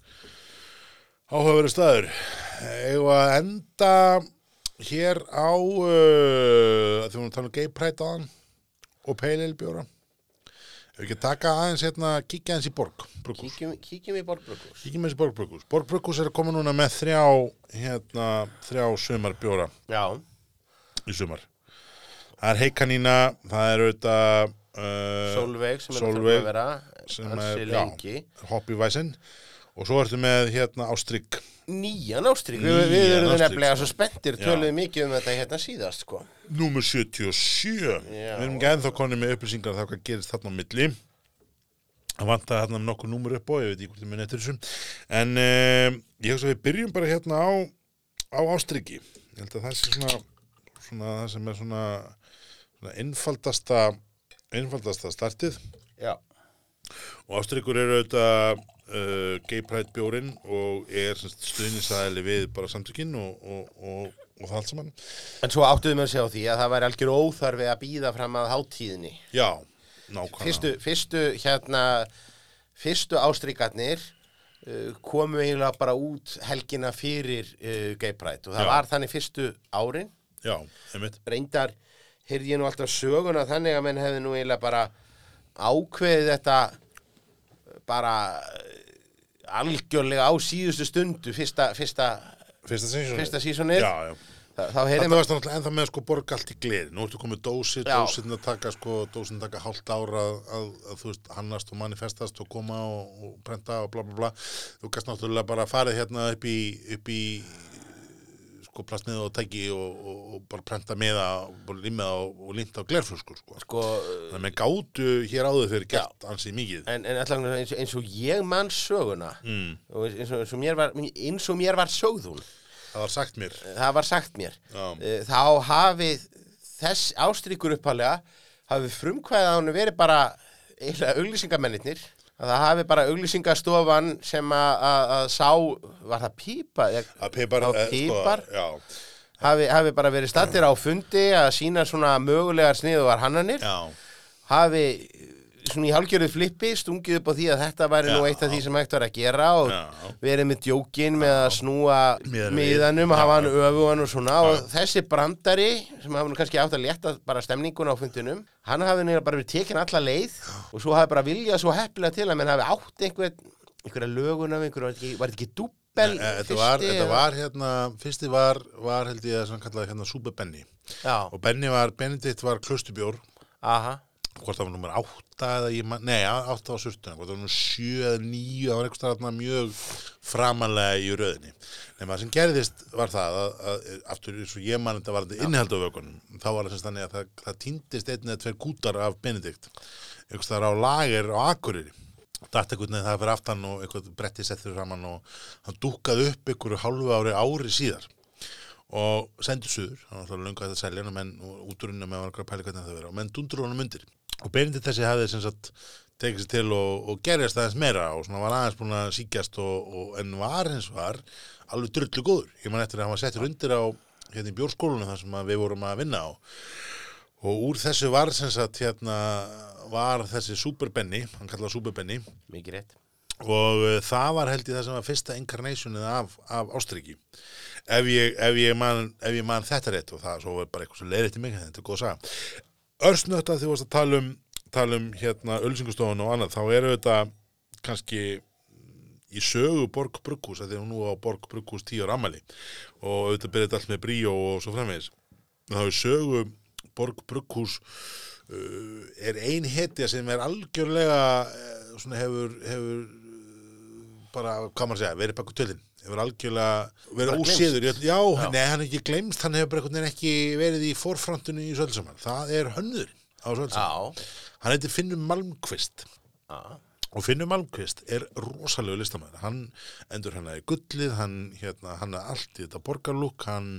Speaker 1: áhugaverður staður. Ég var að enda hér á, uh, því hún tala um gay pride á hann og pale ale bjóra. Ef við ekki taka aðeins hérna, kíkja aðeins í borg, brugghús.
Speaker 2: kíkjum, kíkjum í borgbrukus
Speaker 1: Kíkjum aðeins í borg, brugghús. Borg, brugghús er að koma núna með þrjá, hérna, þrjá sömar bjóra
Speaker 2: já,
Speaker 1: í sumar það er heikanína, það er auðvitað uh,
Speaker 2: Solveig sem er
Speaker 1: Sólveig,
Speaker 2: að vera
Speaker 1: sem
Speaker 2: hansi
Speaker 1: er- já.
Speaker 2: lengi
Speaker 1: hoppivæsinn og svo ertu með hérna ástrygg
Speaker 2: nýjan ástrík, við, við
Speaker 1: Nýjan
Speaker 2: erum
Speaker 1: ástrík,
Speaker 2: nefnilega
Speaker 1: sko.
Speaker 2: svo spenntir,
Speaker 1: Já.
Speaker 2: töluðum mikið um þetta hérna síðast sko
Speaker 1: númer 77
Speaker 2: Já.
Speaker 1: við erum ekki ennþá konið með upplýsingar þá hvað gerist þarna á milli það vantaði þarna um nokkur númer upp og ég veit ekki hvort ég muni eftir þessu en uh, ég hugsa að við byrjum bara hérna á á ástryggi ég held að það sé svona, svona það sem er svona, svona einfaldasta einfaldasta startið
Speaker 2: já,
Speaker 1: Og Ástryggur eru auðvitað uh, gay pride bjórin og er stuðnisæðili við bara samtökinn og, og, og, og það allt saman.
Speaker 2: en svo áttuðum við að segja á því að það væri algjör óþarfi að býða fram að hátíðinni
Speaker 1: Já, nákvæmlega.
Speaker 2: fyrstu, fyrstu hérna fyrstu ástríkarnir uh, komu eiginlega bara út helgina fyrir uh, Gay Pride og það
Speaker 1: Já.
Speaker 2: var þannig fyrstu árin
Speaker 1: Já, einmitt.
Speaker 2: reyndar heyrði ég nú alltaf söguna þannig að menn hefði nú eiginlega bara ákveðið þetta bara eh, algjörlega á síðustu stundu fyrsta, fyrsta,
Speaker 1: Fyrsta seasonið.
Speaker 2: fyrsta sísonið
Speaker 1: Já, já.
Speaker 2: þá þá heyrði
Speaker 1: Þetta
Speaker 2: maður
Speaker 1: varst náttúrulega ennþá með sko borga allt í gleri. Nú ertu komið dósi,
Speaker 2: Já.
Speaker 1: dósin að taka sko, dósin taka hálft ára að, að, að þú veist hannast og manifestast og koma og, og prenta og bla bla bla. Þú gæst náttúrulega bara farið hérna upp í, upp í sko plastnið og tæki og, og, og bara prenta með að limma og, og linda á glerflöskur sko.
Speaker 2: sko, eh,
Speaker 1: Þannig að menn gátu hér áður fyrir gert ansið mikið.
Speaker 2: en, en allan eins, eins og ég mann söguna mm. og eins- eins og, eins og mér var eins og mér var sögðun
Speaker 1: Það var sagt mér.
Speaker 2: það var sagt mér
Speaker 1: Já.
Speaker 2: Eh, þá hafi þess ástríkur uppalega hafi frumkvæðið að hún verið bara eiginlega auglýsingamennirnir að það hafi bara auglýsingastofan sem að- að að sá var það pípa
Speaker 1: Að pipar,
Speaker 2: Á pipar?
Speaker 1: Sko, já,
Speaker 2: hafi, hafi bara verið stattir á fundi að sína svona mögulegar sniðuvar hannanir
Speaker 1: já,
Speaker 2: hafi eh, svona í hálgjörðu flippi stungið upp á því að þetta væri nú
Speaker 1: Já.
Speaker 2: eitt af því sem hægt var að gera og
Speaker 1: Já.
Speaker 2: verið með djókin með að snúa
Speaker 1: Miðanum við.
Speaker 2: miðanum að
Speaker 1: Já,
Speaker 2: hafa hann öfugan og svona og þessi brandari sem hafa nú kannski átt að létta bara stemningun á fundinum hann hafi nýra bara verið tekin alla leið og svo hafi bara viljað svo heppilega til að menn hafi átt einhver, einhverja lögun af einhverju, var þetta ekki, var þetta ekki dúbbel
Speaker 1: e, þetta, var, þetta var hérna, fyrsti var, var held ég að sem kallaði hérna Super Benny.
Speaker 2: já,
Speaker 1: Og Benny var, Benedikt var klöstubjór,
Speaker 2: aha,
Speaker 1: hvort það var nummer átta eða ég man, nei, á- átta á surtuna, hvort það var nummer sjö eða níu, það var einhvers þarna mjög framalega í röðinni. Nefnum það sem gerðist var það að, að aftur eins og ég man þetta var þetta innihald á vökunum, þá var það sem stannig að það, það týndist einn eða tver kútar af Benedikt, einhvers þar á lager á Akureyri. Datt einhvern veginn það fyrir aftan og einhvern bretti settur saman og hann dúkkaði upp einhverju hálfu ári ári síðar og sendur suður, hann var alltaf löngu að þetta selja hann og menn og útrunna með var okkur að pæla hvernig það verið og menn dundur honum undir og Benedikt þessi hafði sem sagt tekið sér til og, og gerjast aðeins meira og svona var aðeins búin að síkjast og, og en var hins var alveg drullu góður, ég man eftir að hann var settur undir á hérna í bjórskólunum þar sem að við vorum að vinna á og úr þessu var sem sagt hérna var þessi superbenni, hann kallaði superbenni
Speaker 2: mikið rétt
Speaker 1: og uh, það var held ég það sem var fyrsta incarnationið af, af Ástriki ef ég, ef, ég man, ef ég man þetta rétt og það svo var bara eitthvað sem leiðið til mig en þetta er góð að saga Örsnögt að því varst að tala um, tala um hérna ölsingustofun og annað þá eru þetta kannski í sögu Borg Brugghús að því hún nú á Borg Brugghús 10 ára ammali og auðvitað byrjaði allt með bríó og svo framvegis þá er sögu Borg Brugghús uh, er ein hetja sem er algjörlega eh, svona hefur, hefur eh, bara, hvað maður að segja, verið baku tölinn hefur algjörlega verið
Speaker 2: Bara
Speaker 1: ósýður já, já,
Speaker 2: Já.
Speaker 1: nei, hann er ekki glemst hann hefur bara einhvern veginn ekki verið í forfrontinu í Sölsamann, það er hönnur á Sölsamann, hann heitir Finnum Malmqvist
Speaker 2: já.
Speaker 1: Og Finnur Malmqvist er rosalegu listamæður. Hann endur hann í gullið, hann hérna, hann er allt í þetta borgarlúk, hann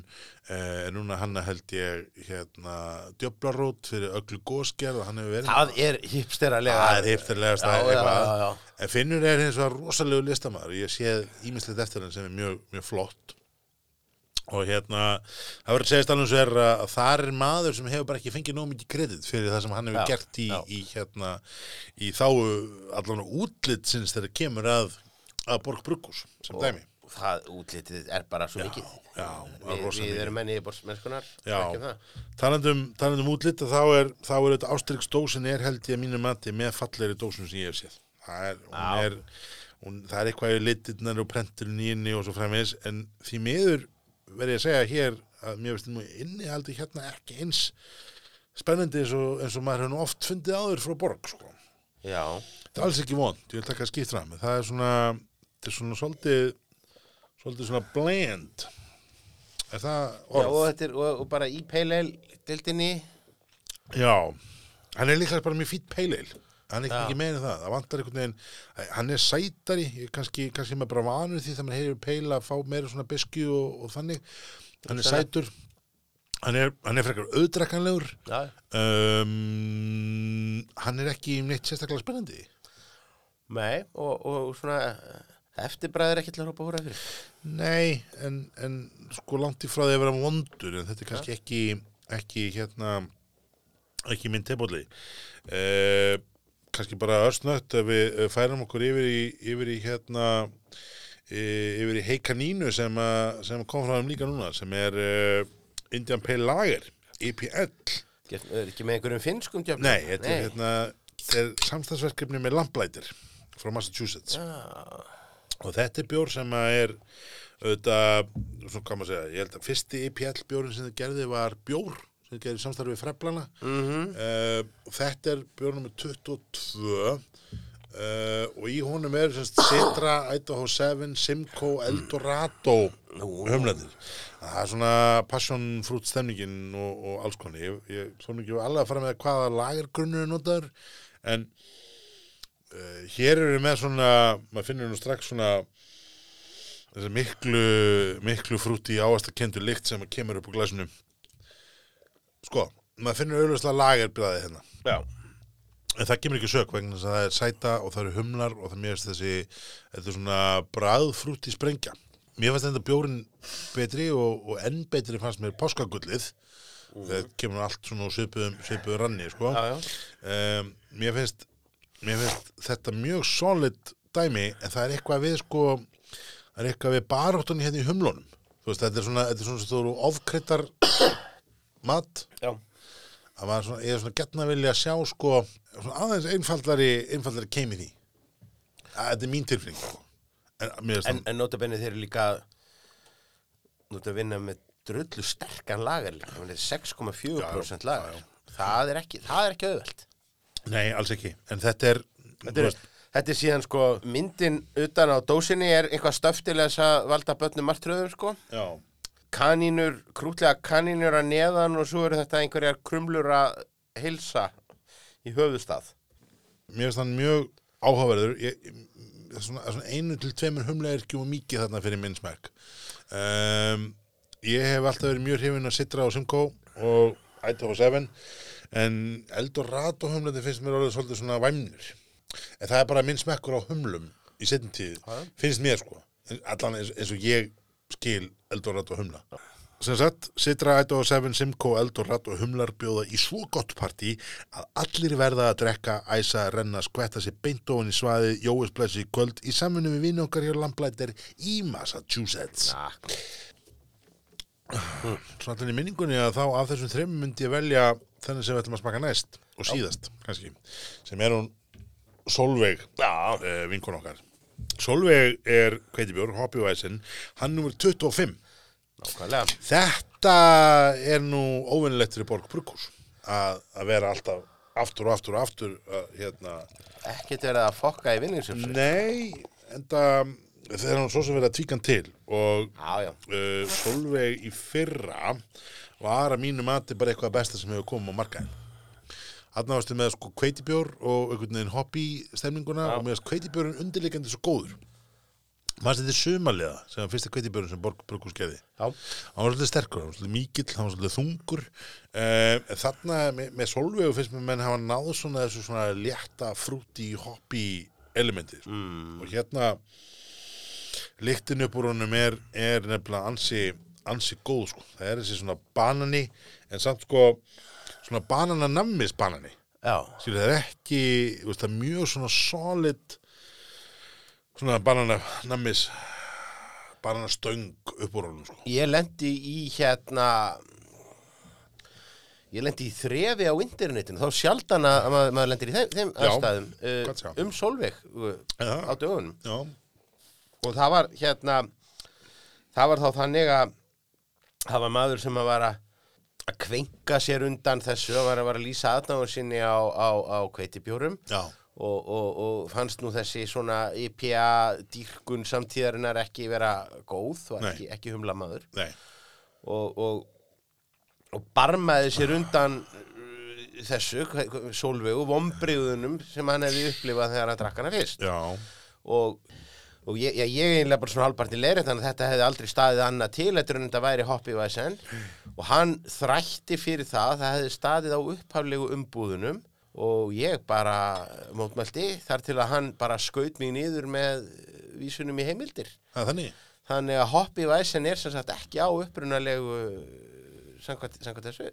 Speaker 1: eh, er núna hann held ég hérna djöflarót fyrir öllu góðsgerð og hann hefur verið.
Speaker 2: Það er hipsteralega
Speaker 1: Það er hipsterlegast
Speaker 2: Já, já, já, já.
Speaker 1: eitthvað. En Finnur er hins vegar rosalegu listamæður. Ég séð ímislegt eftir hann sem er mjög, mjög flott. Og hérna, það verður að segja stannum svo er að það er maður sem hefur bara ekki fengið nóg mikið kredit fyrir það sem hann hefur
Speaker 2: Já,
Speaker 1: gert í,
Speaker 2: já.
Speaker 1: í hérna, í þáu allan útlitsins þegar kemur að, að Borg Bruggús, sem dæmi.
Speaker 2: Og það útlitið er bara svo mikið
Speaker 1: já, það er
Speaker 2: Við,
Speaker 1: rosa
Speaker 2: við
Speaker 1: mikið.
Speaker 2: erum menni í borsmennskunar
Speaker 1: Já, talandum, talandum um- útlit að þá er, þá er þetta ástryksdósin er held ég að mínu mati með fallegri dósum sem ég hef séð. Það er, hún
Speaker 2: Já.
Speaker 1: er, hún, það er eitthvað í litirnar og prenturinn í henni og svo framvegis en því miður verð ég að segja hér að mér veist nú inni aldrei hérna ekki eins spennandi eins og, eins og maður hefur nú oft fundið áður frá borg sko.
Speaker 2: Já,
Speaker 1: Það er alls ekki vond, ég vil taka að skipta það með það er svona, það er svona svolítið, svolítið svona bland er það
Speaker 2: já og, þetta er, og, og bara í peileil dildinni
Speaker 1: Já, hann er líklega bara mjög fýtt peileil hann er ekki
Speaker 2: Já.
Speaker 1: mikið meira en það, það vantar einhvern veginn hann er sætari, ég- kannski, kannski maður bara vanur því þegar maður heyrir peila að fá meira svona besku og, og þannig hann er sætur hann er, hann er frekar auðdrakkanlegur
Speaker 2: Já,
Speaker 1: um, hann er ekki neitt sérstaklega spennandi
Speaker 2: nei og, og svona eh, eftirbræður ekki til að hrópa húra fyrir
Speaker 1: Nei, en, en sko langt í frá því að vera vondur en þetta er kannski ekki, ekki hérna ekki minn tebóli eh, kannski bara örsnött ef við eh, færum okkur yfir í, yfir í hérna eh, yfir í heikanínu sem, að- sem kom frá þeim líka núna sem er eh, Indian Pale Lager IPL
Speaker 2: Gert, er Ekki með einhverjum finnskum djöfnum
Speaker 1: Nei, þetta er, hérna, þetta er samstagsverkefni með Lamplætir frá Massachusetts
Speaker 2: Já,
Speaker 1: og þetta er bjór sem að er auðvitað, svona kann maður segja ég held að fyrsti E IPL bjórin sem þið gerði var bjór sem þið gerði í samstarfi við freflana mm og þetta er bjór nummer 22 uh, og í honum er semst, Citra, Idaho 7, Simcoe Eldorado humlandir það er svona passion fruit stemningin og, og alls konni ég, ég svona ekki alveg að fara með hvaða lagergrunnur er notaður en uh, hér eru við með svona maður finnur nú strax svona þessi miklu miklu frúti áasta kendu lykt sem kemur upp á glasinu sko, maður finnur auðvitað lagerbræði hérna
Speaker 2: já
Speaker 1: en það kemur ekki sök vegna þess að það er sæta og það eru humlar og það mér finnst þessi þetta er svona bræðfrúti sprengja mér fannst þetta bjórin betri og, og enn betri fannst mér páskagullið það kemur nú allt svona svipuðum, svipuðum ranni sko
Speaker 2: Mhm. Já, já.
Speaker 1: um, mér finnst mér finnst þetta mjög solid dæmi en það er eitthvað við sko það er eitthvað við baróttunni hérna í humlunum þú veist, þetta er svona, þetta er svona sem þú eru ofkryttar [COUGHS] mat
Speaker 2: Já,
Speaker 1: að maður svona, ég er svona getna vilja að sjá sko, svona aðeins einfaldari einfaldari keimi því að þetta er mín tilfinning sko. en, mér finnst
Speaker 2: en, en notabenni þeir eru líka nota að vinna með drullu sterkan lagar líka, Ég meina, þetta er 6,4%
Speaker 1: Já, já,
Speaker 2: lagar það er ekki, það er ekki auðvelt
Speaker 1: það- nei, alls ekki, en þetta er
Speaker 2: þetta er, þetta er síðan sko myndin utan á dósinni er eitthvað stöf til þess að valda börnum martröðum sko
Speaker 1: já,
Speaker 2: kanínur, krútlega kanínur að neðan og svo eru þetta einhverjar krumlur að hilsa í höfðustað
Speaker 1: mér finnst hann mjög áhugaverður ég, ég- svona, svona einu til tveimur humlega er ekki og mikið þarna fyrir minn smekk um, ég hef alltaf verið mjög hrifin að sitra á Simcoe og Idaho 7 en Eldorado humlandi finnst mér alveg svolítið svona væmnir en það er bara minn smekkur á humlum í setjum tíð, finnst mér sko En allan eins, eins og ég skil Eldorado humla sem sagt, Sitra Idaho 7, Simcoe, Eldorado humlar bjóða í svo gott partí að allir verða að drekka, æsa, renna, skvetta sér beint ofan í svaði, jóisblessi í kvöld í samvinni við vinn okkar hér lamblættir í Massachusetts svona allir í minningunni að þá af þessum þreim myndi ég velja þennan sem við ætlum að smaka næst og síðast, kannski, sem er hún Solveig
Speaker 2: Já.
Speaker 1: eh, vinkun okkar Solveig er kveitibjór, hoppjúvæsin hann numur 25
Speaker 2: nákvæmlega
Speaker 1: þetta er nú óvinnilegt fyrir Borg Brukkús að, að vera alltaf aftur og aftur og aftur uh, hérna.
Speaker 2: Ekkert verið að fokka í vinningsum
Speaker 1: Mm. Nei, enda um, þegar hann svo sem verið að tvíkan til og
Speaker 2: Já, já
Speaker 1: uh, Solveig í fyrra var að mínu mati bara eitthvað besta sem hefur komið á markaðin Þarna varstu með sko kveitibjór og einhvern veginn hobby stemninguna og með kveitibjórinn undirleikandi svo góður maður þetta er sumarlega sem var fyrsta kveitibjórinn sem Borg Brukus gerði
Speaker 2: Já.
Speaker 1: hann var svolítið sterkur, hann var svolítið mikill hann var svolítið þungur uh, þarna með, með Solveig finnst mér menn hafa náð svona þessu svona létta frúti hobby elementir mm. og hérna lyktin upp úr honum er, er nefnilega ansi, ansi góð sko. það er þessi svona banani en samt sko svona banana nammis banani
Speaker 2: Já,
Speaker 1: Skilur, það er ekki, þú veist, það er mjög svona solid svona banana nammis banana stöng upp úr honum sko.
Speaker 2: ég lendi í hérna ég lendi í þrefi á internetinu þá sjaldan að að maður, maður lendir í þeim, þeim
Speaker 1: Já,
Speaker 2: aðstæðum
Speaker 1: gott sjá.
Speaker 2: uh, um Solveig uh,
Speaker 1: Já.
Speaker 2: á dögunum
Speaker 1: já,
Speaker 2: og það var hérna það var þá þannig að það var maður sem að var að að kveinka sér undan þessu að var að, var að lýsa aðnáður sinni á, á, á kveitibjórum
Speaker 1: já,
Speaker 2: og, og, og fannst nú þessi svona IPA dýrkun samtíðarinnar ekki vera góð og
Speaker 1: Nei.
Speaker 2: ekki, ekki humla maður
Speaker 1: nei
Speaker 2: og, og, og barmaði sér undan uh, þessu hva- hva- Sólveigu vombriðunum sem hann hefði upplifað þegar hann drakk hana fyrst
Speaker 1: já,
Speaker 2: og, og ég, ég, ég einlega bara svona halvparti leirinn þannig að þetta hefði aldrei staðið annað til þetta er en þetta væri hoppivæsen og hann þrætti fyrir það það hefði staðið á upphaflegu umbúðunum og ég bara uh, mótmælti þar til að hann bara skaut mig niður með uh, vísunum í heimildir
Speaker 1: það er þannig
Speaker 2: Þannig að Hoppy Væsen er sem sagt ekki á upprunalegu samkvæmt, samkvæmt þessu.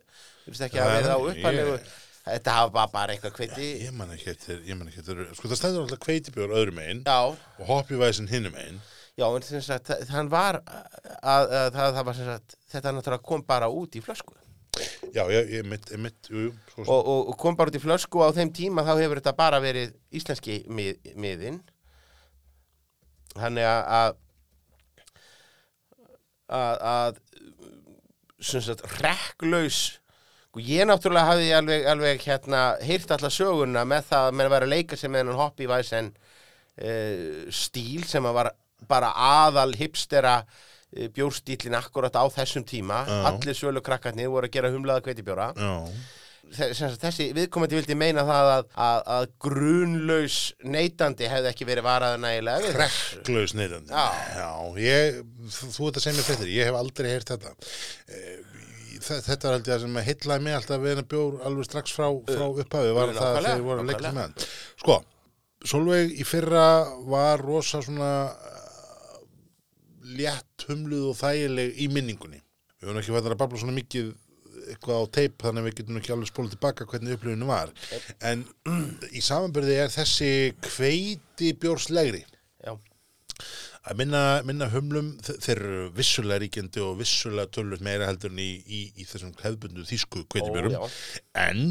Speaker 2: Þú veist ekki að
Speaker 1: Nei,
Speaker 2: verða á
Speaker 1: nei,
Speaker 2: upprunalegu.
Speaker 1: ég-
Speaker 2: Þetta hafa bara, bara eitthvað kveiti.
Speaker 1: ég man ekki eftir, ég man ekki eftir sko það stendur alltaf kveitibjór öðrum einn
Speaker 2: Já,
Speaker 1: og hoppjúvæsin hinum einn
Speaker 2: já, en sem sagt, þa- hann var að, að, að það, það var sem sagt, þetta náttúrulega kom bara út í flösku.
Speaker 1: já, ég, ég mitt, ég mitt, jú, jú, svo sem
Speaker 2: Og, og, og kom bara út í flösku og á þeim tíma þá hefur þetta bara verið íslenski mið, miðin. Þannig að að, að, að sem sagt, rekklaus og ég náttúrulega hafði alveg, alveg hérna, heyrt alla söguna með það að menn var að leika sem með hennan hoppi væs en uh, stíl sem að var bara aðal hipstera uh, bjórstílin akkurat á þessum tíma
Speaker 1: Já.
Speaker 2: allir sölu krakkarnir voru að gera humlaða kveitibjóra
Speaker 1: já,
Speaker 2: Þe- sem sagt, þessi viðkomandi vildi meina það að, að, að grunlaus neytandi hefði ekki verið varað nægilega við þessu.
Speaker 1: Klaus neytandi
Speaker 2: Já.
Speaker 1: ég, þú þú ert að segja mér fréttir Ég hef aldrei heyrt þetta Eh, þe- Þetta var held ég að sem að heitlaði mig alltaf við hennar bjór alveg strax frá, frá upphafi var
Speaker 2: Eh, nákvæmlega,
Speaker 1: það þegar ég voru að leika
Speaker 2: nákvæmlega.
Speaker 1: sem hann Sko, Solveig í fyrra var rosa svona eh, létt humluð og þægileg í minningunni Við höfum ekki fættar að babla svona mikið eitthvað á teip þannig að við getum ekki alveg spólað tilbaka hvernig upplifinu var en í samanbyrði er þessi kveiti bjórslegri
Speaker 2: Já,
Speaker 1: að minna, minna humlum þe- þeir eru vissulega ríkjandi og vissulega tölvöld meira heldur en í, í, í þessum hefðbundu þýsku
Speaker 2: Ó,
Speaker 1: kveitibjörum en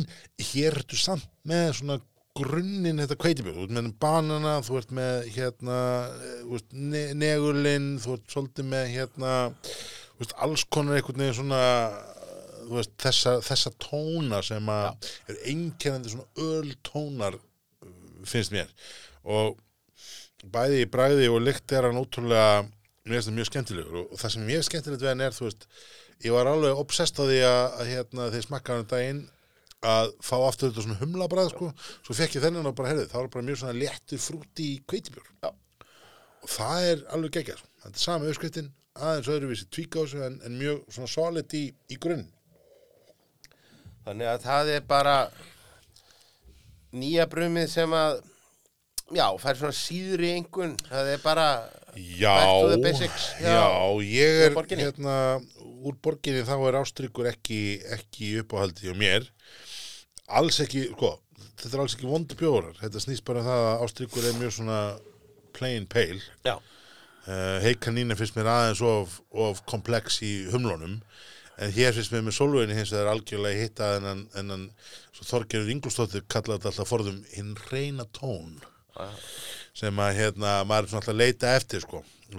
Speaker 1: hér ertu samt með svona grunnin þetta kveitibjör þú ert með banana, þú ert með hérna, eh, þú ert ne negulinn þú ert svolítið með hérna þú veist, alls konar einhvern veginn svona þú veist, þessa, þessa tóna sem að er einkennandi svona öltónar eh, finnst mér og bæði í bræði og lykt er hann ótrúlega mér finnst það mjög skemmtilegur og, og það sem ég er skemmtilegt við hann er þú veist, ég var alveg obsessed á því að, að hérna, þeir smakkaði hann um daginn að fá aftur þetta svona humla bræð sko, svo fekk ég þennan og bara herðið það var bara mjög svona léttur frúti í kveitibjör
Speaker 2: Já.
Speaker 1: og það er alveg geggjað sko. þetta er sami öskveitin, aðeins öðruvísi tvík á þessu en, en mjög svona solid í, í grunn
Speaker 2: þannig að það er bara nýja brumið sem að já, fær svona síðri einhvern það er bara Back to
Speaker 1: Já,
Speaker 2: the basics, já.
Speaker 1: já, ég er
Speaker 2: Úr borginni.
Speaker 1: hérna, úr borginni þá er ástryggur ekki, ekki í uppáhaldi hjá mér alls ekki, sko þetta er alls ekki vondu bjórar, þetta snýst bara um það að ástryggur er mjög svona plain pale
Speaker 2: já.
Speaker 1: uh, heikanína finnst mér aðeins of, of komplex í humlunum en hér finnst mér með sólveginni hins vegar algjörlega hitta en hann, en hann svo Þorgerður Ingúlstóttir kallaði þetta alltaf forðum hinn reyna tón sem að hérna, maður er svona alltaf að leita eftir sko.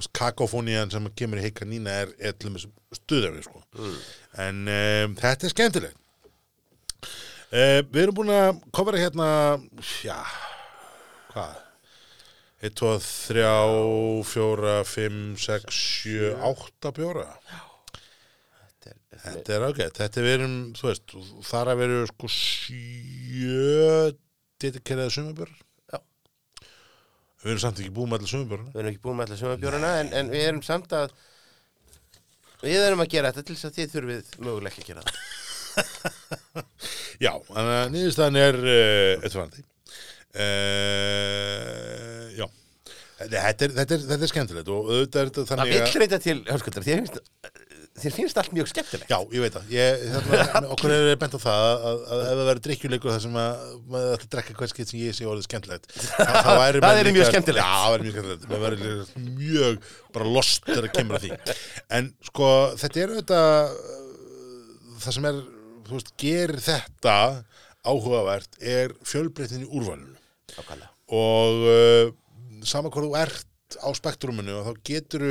Speaker 1: kakofónían sem kemur í heikanína er, er eh, til með stuðafi sko. en um, þetta er skemmtilegt Eh, við erum búin að kofra hérna, já, hvað? 1, 2, 3, 4, 5, 6, 7, 8 bjóra. Þetta er ágætt. Þetta er verið, um, þú veist, þar að verið sko 7 dedikerðið sumabjör.
Speaker 2: Já.
Speaker 1: Við erum samt ekki búin með allir sumabjörna.
Speaker 2: Við erum ekki búin með alla sumabjöruna en, en við erum samt að Við erum að gera þetta til þess að þið þurfið mögulega ekki að gera það
Speaker 1: Já, þannig að niðurstaðan er uh, eftirfarandi. Uh, já, þetta er, þetta, er, þetta er skemmtilegt og auðvitað er þetta
Speaker 2: Það
Speaker 1: þannig
Speaker 2: vill reyta til, hörskuldar, þér finnst, þér finnst allt mjög skemmtilegt
Speaker 1: Já, ég veit það. Ég,
Speaker 2: [LAUGHS]
Speaker 1: þarna, okkur er bent á það að, að, að ef það verður drikkjuleikur þar sem að maður ætti að drekka hvað skipt sem ég sé orðið skemmtilegt. Það,
Speaker 2: [LAUGHS]
Speaker 1: það væri
Speaker 2: Það
Speaker 1: menn
Speaker 2: yrði mjög
Speaker 1: líka-
Speaker 2: skemmtilegt.
Speaker 1: Já, það verður mjög skemmtilegt. Maður verður mjög bara lost þegar að kemur að því. En sko, þetta er auðvitað uh, það sem er, þú veist, gerir þetta áhugavert er fjölbreytin í úrvalinu
Speaker 2: Nákvæmlega.
Speaker 1: og uh, sama hvað þú ert á spektruminu og þá getur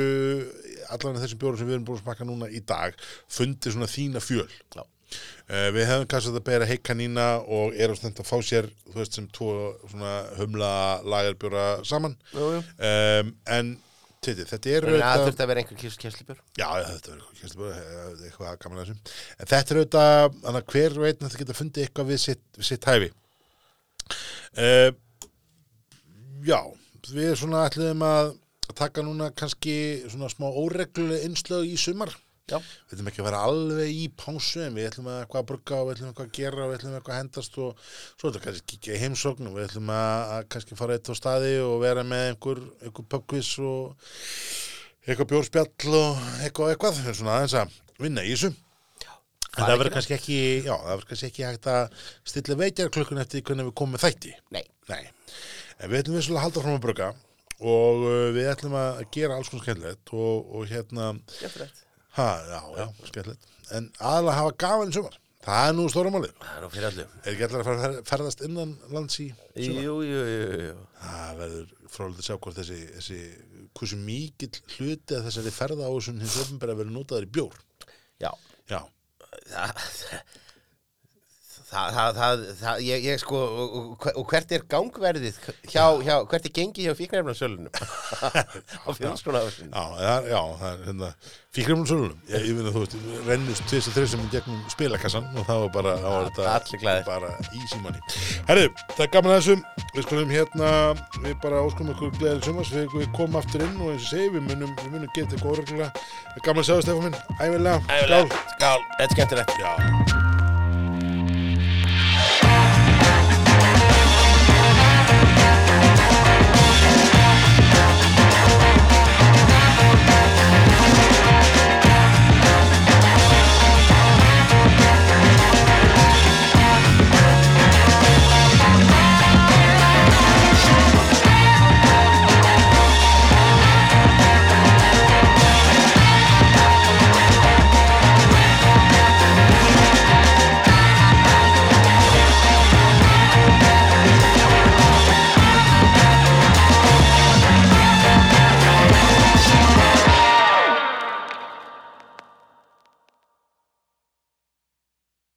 Speaker 1: allan þessum bjórum sem við erum búin að smakka núna í dag fundið svona þína fjöl
Speaker 2: Já.
Speaker 1: uh, við hefum kannski að bera heikanína og erum stend að fá sér þú veist sem tvo svona humla lagerbjóra saman
Speaker 2: Jú, jú.
Speaker 1: um, en titi, þetta er
Speaker 2: Þannig að
Speaker 1: auðvitað-
Speaker 2: þurfti að vera einhver kynslubjör
Speaker 1: Já, já, þetta verður eitthvað, kemstu bara, eh, eitthvað gaman að þessum. En þetta er auðvitað, þannig að hver veit að það geta fundið eitthvað við sitt, við sitt hæfi. Uh, já, við svona ætluðum að taka núna kannski svona smá óregluleg innslög í sumar.
Speaker 2: Já,
Speaker 1: Við ætlum ekki að vera alveg í pásu en við ætlum að eitthvað að brugga og við ætlum eitthvað að gera og við ætlum eitthvað að hendast og svo ætlum við kannski að kíkja í heimsókn og við ætlum að, að kannski fara eitt á staði og vera með einhver, einhver pubquiz og eitthvað bjórspjall og eitthvað, eitthvað Við erum svona aðeins að vinna í þessu En
Speaker 2: Það
Speaker 1: það
Speaker 2: er
Speaker 1: verður
Speaker 2: ekki
Speaker 1: kannski ekki, já, það verður kannski ekki hægt að stilla veitjarklukkun eftir því hvernig við komum með þætti.
Speaker 2: nei
Speaker 1: Nei, en við ætlum vissulega að halda fram að brugga og uh, við ætlum að gera alls konar skemmtilegt og, og hérna,
Speaker 2: Skemmtilegt
Speaker 1: ha, já, já, skemmtilegt, en aðalega hafa gafan í sumar. Það er nú stóra málið.
Speaker 2: Það er nú fyrir allum
Speaker 1: Er ekki allir að fer, ferðast innan lands í sumar?
Speaker 2: Jú, jú, jú, jú
Speaker 1: Það verður frálega að sjá hvort þessi, þessi hversu mikill hluti að þessari ferða á þessum hins ofnbæra verður notaður í bjór.
Speaker 2: Já
Speaker 1: Já,
Speaker 2: Það, það, það, það, það ég, ég sko, og, og- og hvert er gangverðið hjá, hjá, hvert er gengið hjá [LAUGHS] fíknefnarsölunum á fjölskólaðarsölunum
Speaker 1: já, það, er- já, það er hérna, fíkramum sölunum, ég, ég finn að þú veist, rennist tvis og þrjusum í gegnum spilakassan og það var bara, þá var þetta
Speaker 2: Allir glaðir.
Speaker 1: bara í símanni. Herðu, það er gaman að þessum, við skulum hérna, við bara óskum ykkur gleðið sumars, við, við komum aftur inn og eins og ég segi, við munum, við munum geta eitthvað orðinlega, það er gaman að sjá það Stefán minn, æfilega,
Speaker 2: Skál, þetta er skemmtilegt
Speaker 1: skál. Já.